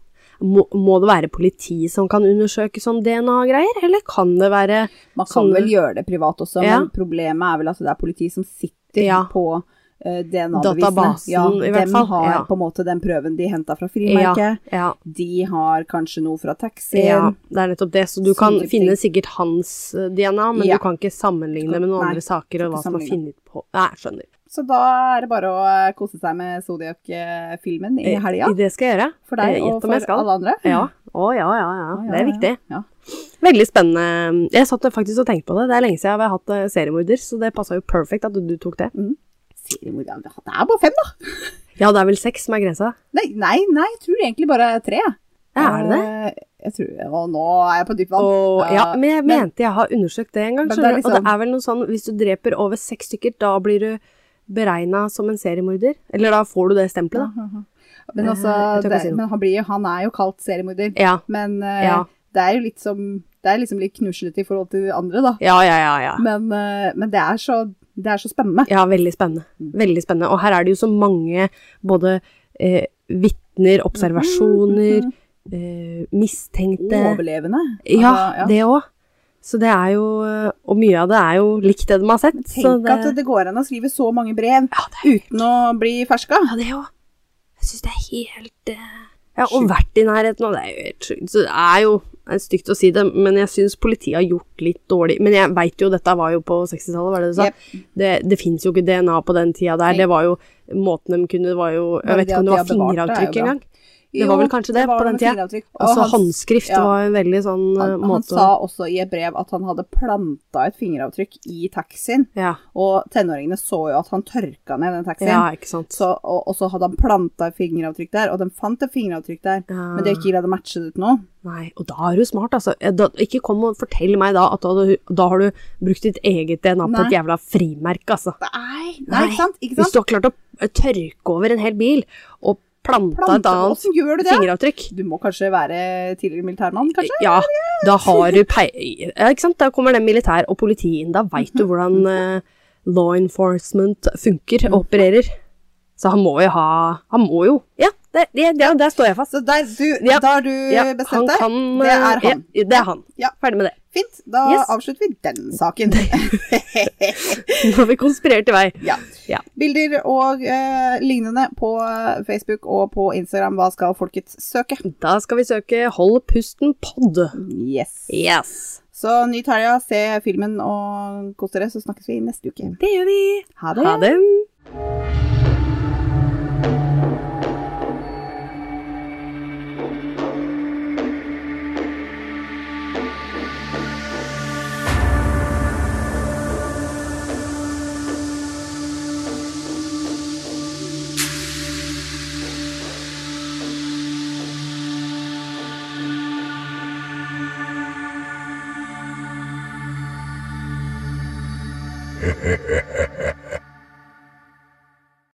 Speaker 2: må, må det være politi som kan undersøke sånn DNA-greier, eller kan det være
Speaker 1: Man kan
Speaker 2: Sånne-
Speaker 1: vel gjøre det privat også,
Speaker 2: Ja.
Speaker 1: men problemet er vel at det er politi som sitter
Speaker 2: Ja.
Speaker 1: på eh, DNA-bevisene.
Speaker 2: Databasen, i hvert
Speaker 1: dem
Speaker 2: fall,
Speaker 1: har
Speaker 2: ja.
Speaker 1: på en måte den prøven de henta fra frimerket.
Speaker 2: Ja,
Speaker 1: De har kanskje noe fra
Speaker 2: ja,
Speaker 1: taxien.
Speaker 2: ja, det er nettopp det. Så du
Speaker 1: Sånne
Speaker 2: kan
Speaker 1: type
Speaker 2: finne sikkert hans eh, DNA, men
Speaker 1: Ja.
Speaker 2: du kan ikke sammenligne med noen
Speaker 1: Nei,
Speaker 2: andre saker og
Speaker 1: ikke
Speaker 2: hva som er
Speaker 1: sammenligne.
Speaker 2: funnet på Nei, jeg skjønner.
Speaker 1: Så da er det bare å eh, kose seg med Zodiac-filmen i helga.
Speaker 2: Eh, Det skal jeg gjøre.
Speaker 1: For deg
Speaker 2: Eh,
Speaker 1: og
Speaker 2: gjett om
Speaker 1: for
Speaker 2: jeg skal.
Speaker 1: alle andre.
Speaker 2: Ja. Å, ja, ja,
Speaker 1: *laughs* Ja,
Speaker 2: ja.
Speaker 1: ja,
Speaker 2: Det er
Speaker 1: ja,
Speaker 2: viktig.
Speaker 1: Ja.
Speaker 2: Veldig spennende. Jeg satt faktisk og tenkte på det. Det er lenge siden jeg har hatt eh, seriemorder, så det passa jo perfekt at du- du tok det.
Speaker 1: Seriemord, ja, Det er bare fem, da.
Speaker 2: Ja, det er vel seks som er grensa.
Speaker 1: Nei, nei, nei jeg tror egentlig bare tre. jeg.
Speaker 2: Er det det?
Speaker 1: Eh, Jeg tror, og nå er jeg på dypt vann.
Speaker 2: Og,
Speaker 1: Eh,
Speaker 2: ja, men jeg mente jeg har undersøkt det en
Speaker 1: Men
Speaker 2: gang,
Speaker 1: det er
Speaker 2: skjønner du. Og
Speaker 1: liksom-
Speaker 2: det er vel noe sånn, hvis du dreper over seks stykker, da blir du beregna som en seriemorder. Eller da får du det stempelet, da.
Speaker 1: Mm,
Speaker 2: Eh,
Speaker 1: men, altså,
Speaker 2: jeg tør ikke
Speaker 1: det,
Speaker 2: si noe.
Speaker 1: men han, blir, han er jo kalt seriemorder.
Speaker 2: Ja,
Speaker 1: Men eh,
Speaker 2: Ja.
Speaker 1: det er jo litt som Det er liksom litt knuslete i forhold til de andre, da.
Speaker 2: ja, ja, ja. ja.
Speaker 1: Men, eh, men det, er så, det er så spennende.
Speaker 2: Ja, veldig spennende. Veldig spennende. Og her er det jo så mange både eh, vitner, observasjoner, eh, mistenkte
Speaker 1: Overlevende. Altså,
Speaker 2: Ja, det òg. Så det er jo Og mye av det er jo likt det de har sett. så
Speaker 1: Tenk at det går an å skrive så mange brev
Speaker 2: Ja, det
Speaker 1: uten å bli ferska.
Speaker 2: Ja, det òg. Jeg syns det er helt eh, Ja, og vært i nærheten, og det er jo helt sjukt. Så det er jo det er stygt å si det, men jeg syns politiet har gjort litt dårlig Men jeg veit jo, dette var jo på 60-tallet, var det du sa? Det, det fins jo ikke DNA på den tida der.
Speaker 1: Nei.
Speaker 2: Det var jo måten de kunne det var jo,
Speaker 1: Men
Speaker 2: Jeg vet
Speaker 1: det
Speaker 2: ikke
Speaker 1: at
Speaker 2: om det
Speaker 1: de
Speaker 2: var
Speaker 1: har bevart det er jo
Speaker 2: fingeravtrykk
Speaker 1: bra.
Speaker 2: engang. Det var vel kanskje det, på den tida. Altså håndskrift
Speaker 1: ja.
Speaker 2: var en veldig sånn eh,
Speaker 1: Han, han
Speaker 2: måte
Speaker 1: sa også i et brev at han hadde planta et fingeravtrykk i taxien,
Speaker 2: ja.
Speaker 1: og tenåringene så jo at han tørka ned den taxien.
Speaker 2: ja, ikke sant.
Speaker 1: Så, og, og så hadde han planta et fingeravtrykk der, og de fant et fingeravtrykk der,
Speaker 2: Ja.
Speaker 1: men de har ikke greid å matche det til noe.
Speaker 2: Nei, og da er du smart, altså. Eh, Da, ikke kom og fortell meg da at da, har du- da har du brukt ditt eget DNA på
Speaker 1: Nei.
Speaker 2: et jævla frimerke, altså.
Speaker 1: Nei, nei,
Speaker 2: Nei.
Speaker 1: ikke sant? Ikke
Speaker 2: Hvis
Speaker 1: sant?
Speaker 2: du har klart å eh, tørke over en hel bil og planta et
Speaker 1: Planta,
Speaker 2: annet
Speaker 1: åssen gjør du det?
Speaker 2: fingeravtrykk
Speaker 1: Du må kanskje være tidligere militærmann, kanskje?
Speaker 2: Ja, da har du pei... Ja, ikke sant? Da kommer det militær og politi inn. Da veit du hvordan eh, law enforcement funker og opererer. Så han må jo ha Han må jo Ja, der, der, der, der står jeg fast.
Speaker 1: Så der, du,
Speaker 2: Ja.
Speaker 1: da har du
Speaker 2: Ja,
Speaker 1: bestemt deg?
Speaker 2: kan,
Speaker 1: Det er
Speaker 2: eh,
Speaker 1: han.
Speaker 2: Ja, det er han.
Speaker 1: Ja.
Speaker 2: Ferdig med det. *laughs*
Speaker 1: Fint, da
Speaker 2: Yes.
Speaker 1: avslutter vi den saken. *laughs*
Speaker 2: Nå har vi konspirert i vei.
Speaker 1: ja.
Speaker 2: Ja.
Speaker 1: Bilder og eh, lignende på eh, Facebook og på Instagram. Hva skal folket søke?
Speaker 2: Da skal vi søke Hold pusten pod.
Speaker 1: Yes.
Speaker 2: Yes.
Speaker 1: Så nyt helga, se filmen og kos dere, så snakkes vi neste uke.
Speaker 2: Det gjør vi.
Speaker 1: Ha det!
Speaker 2: Ha det.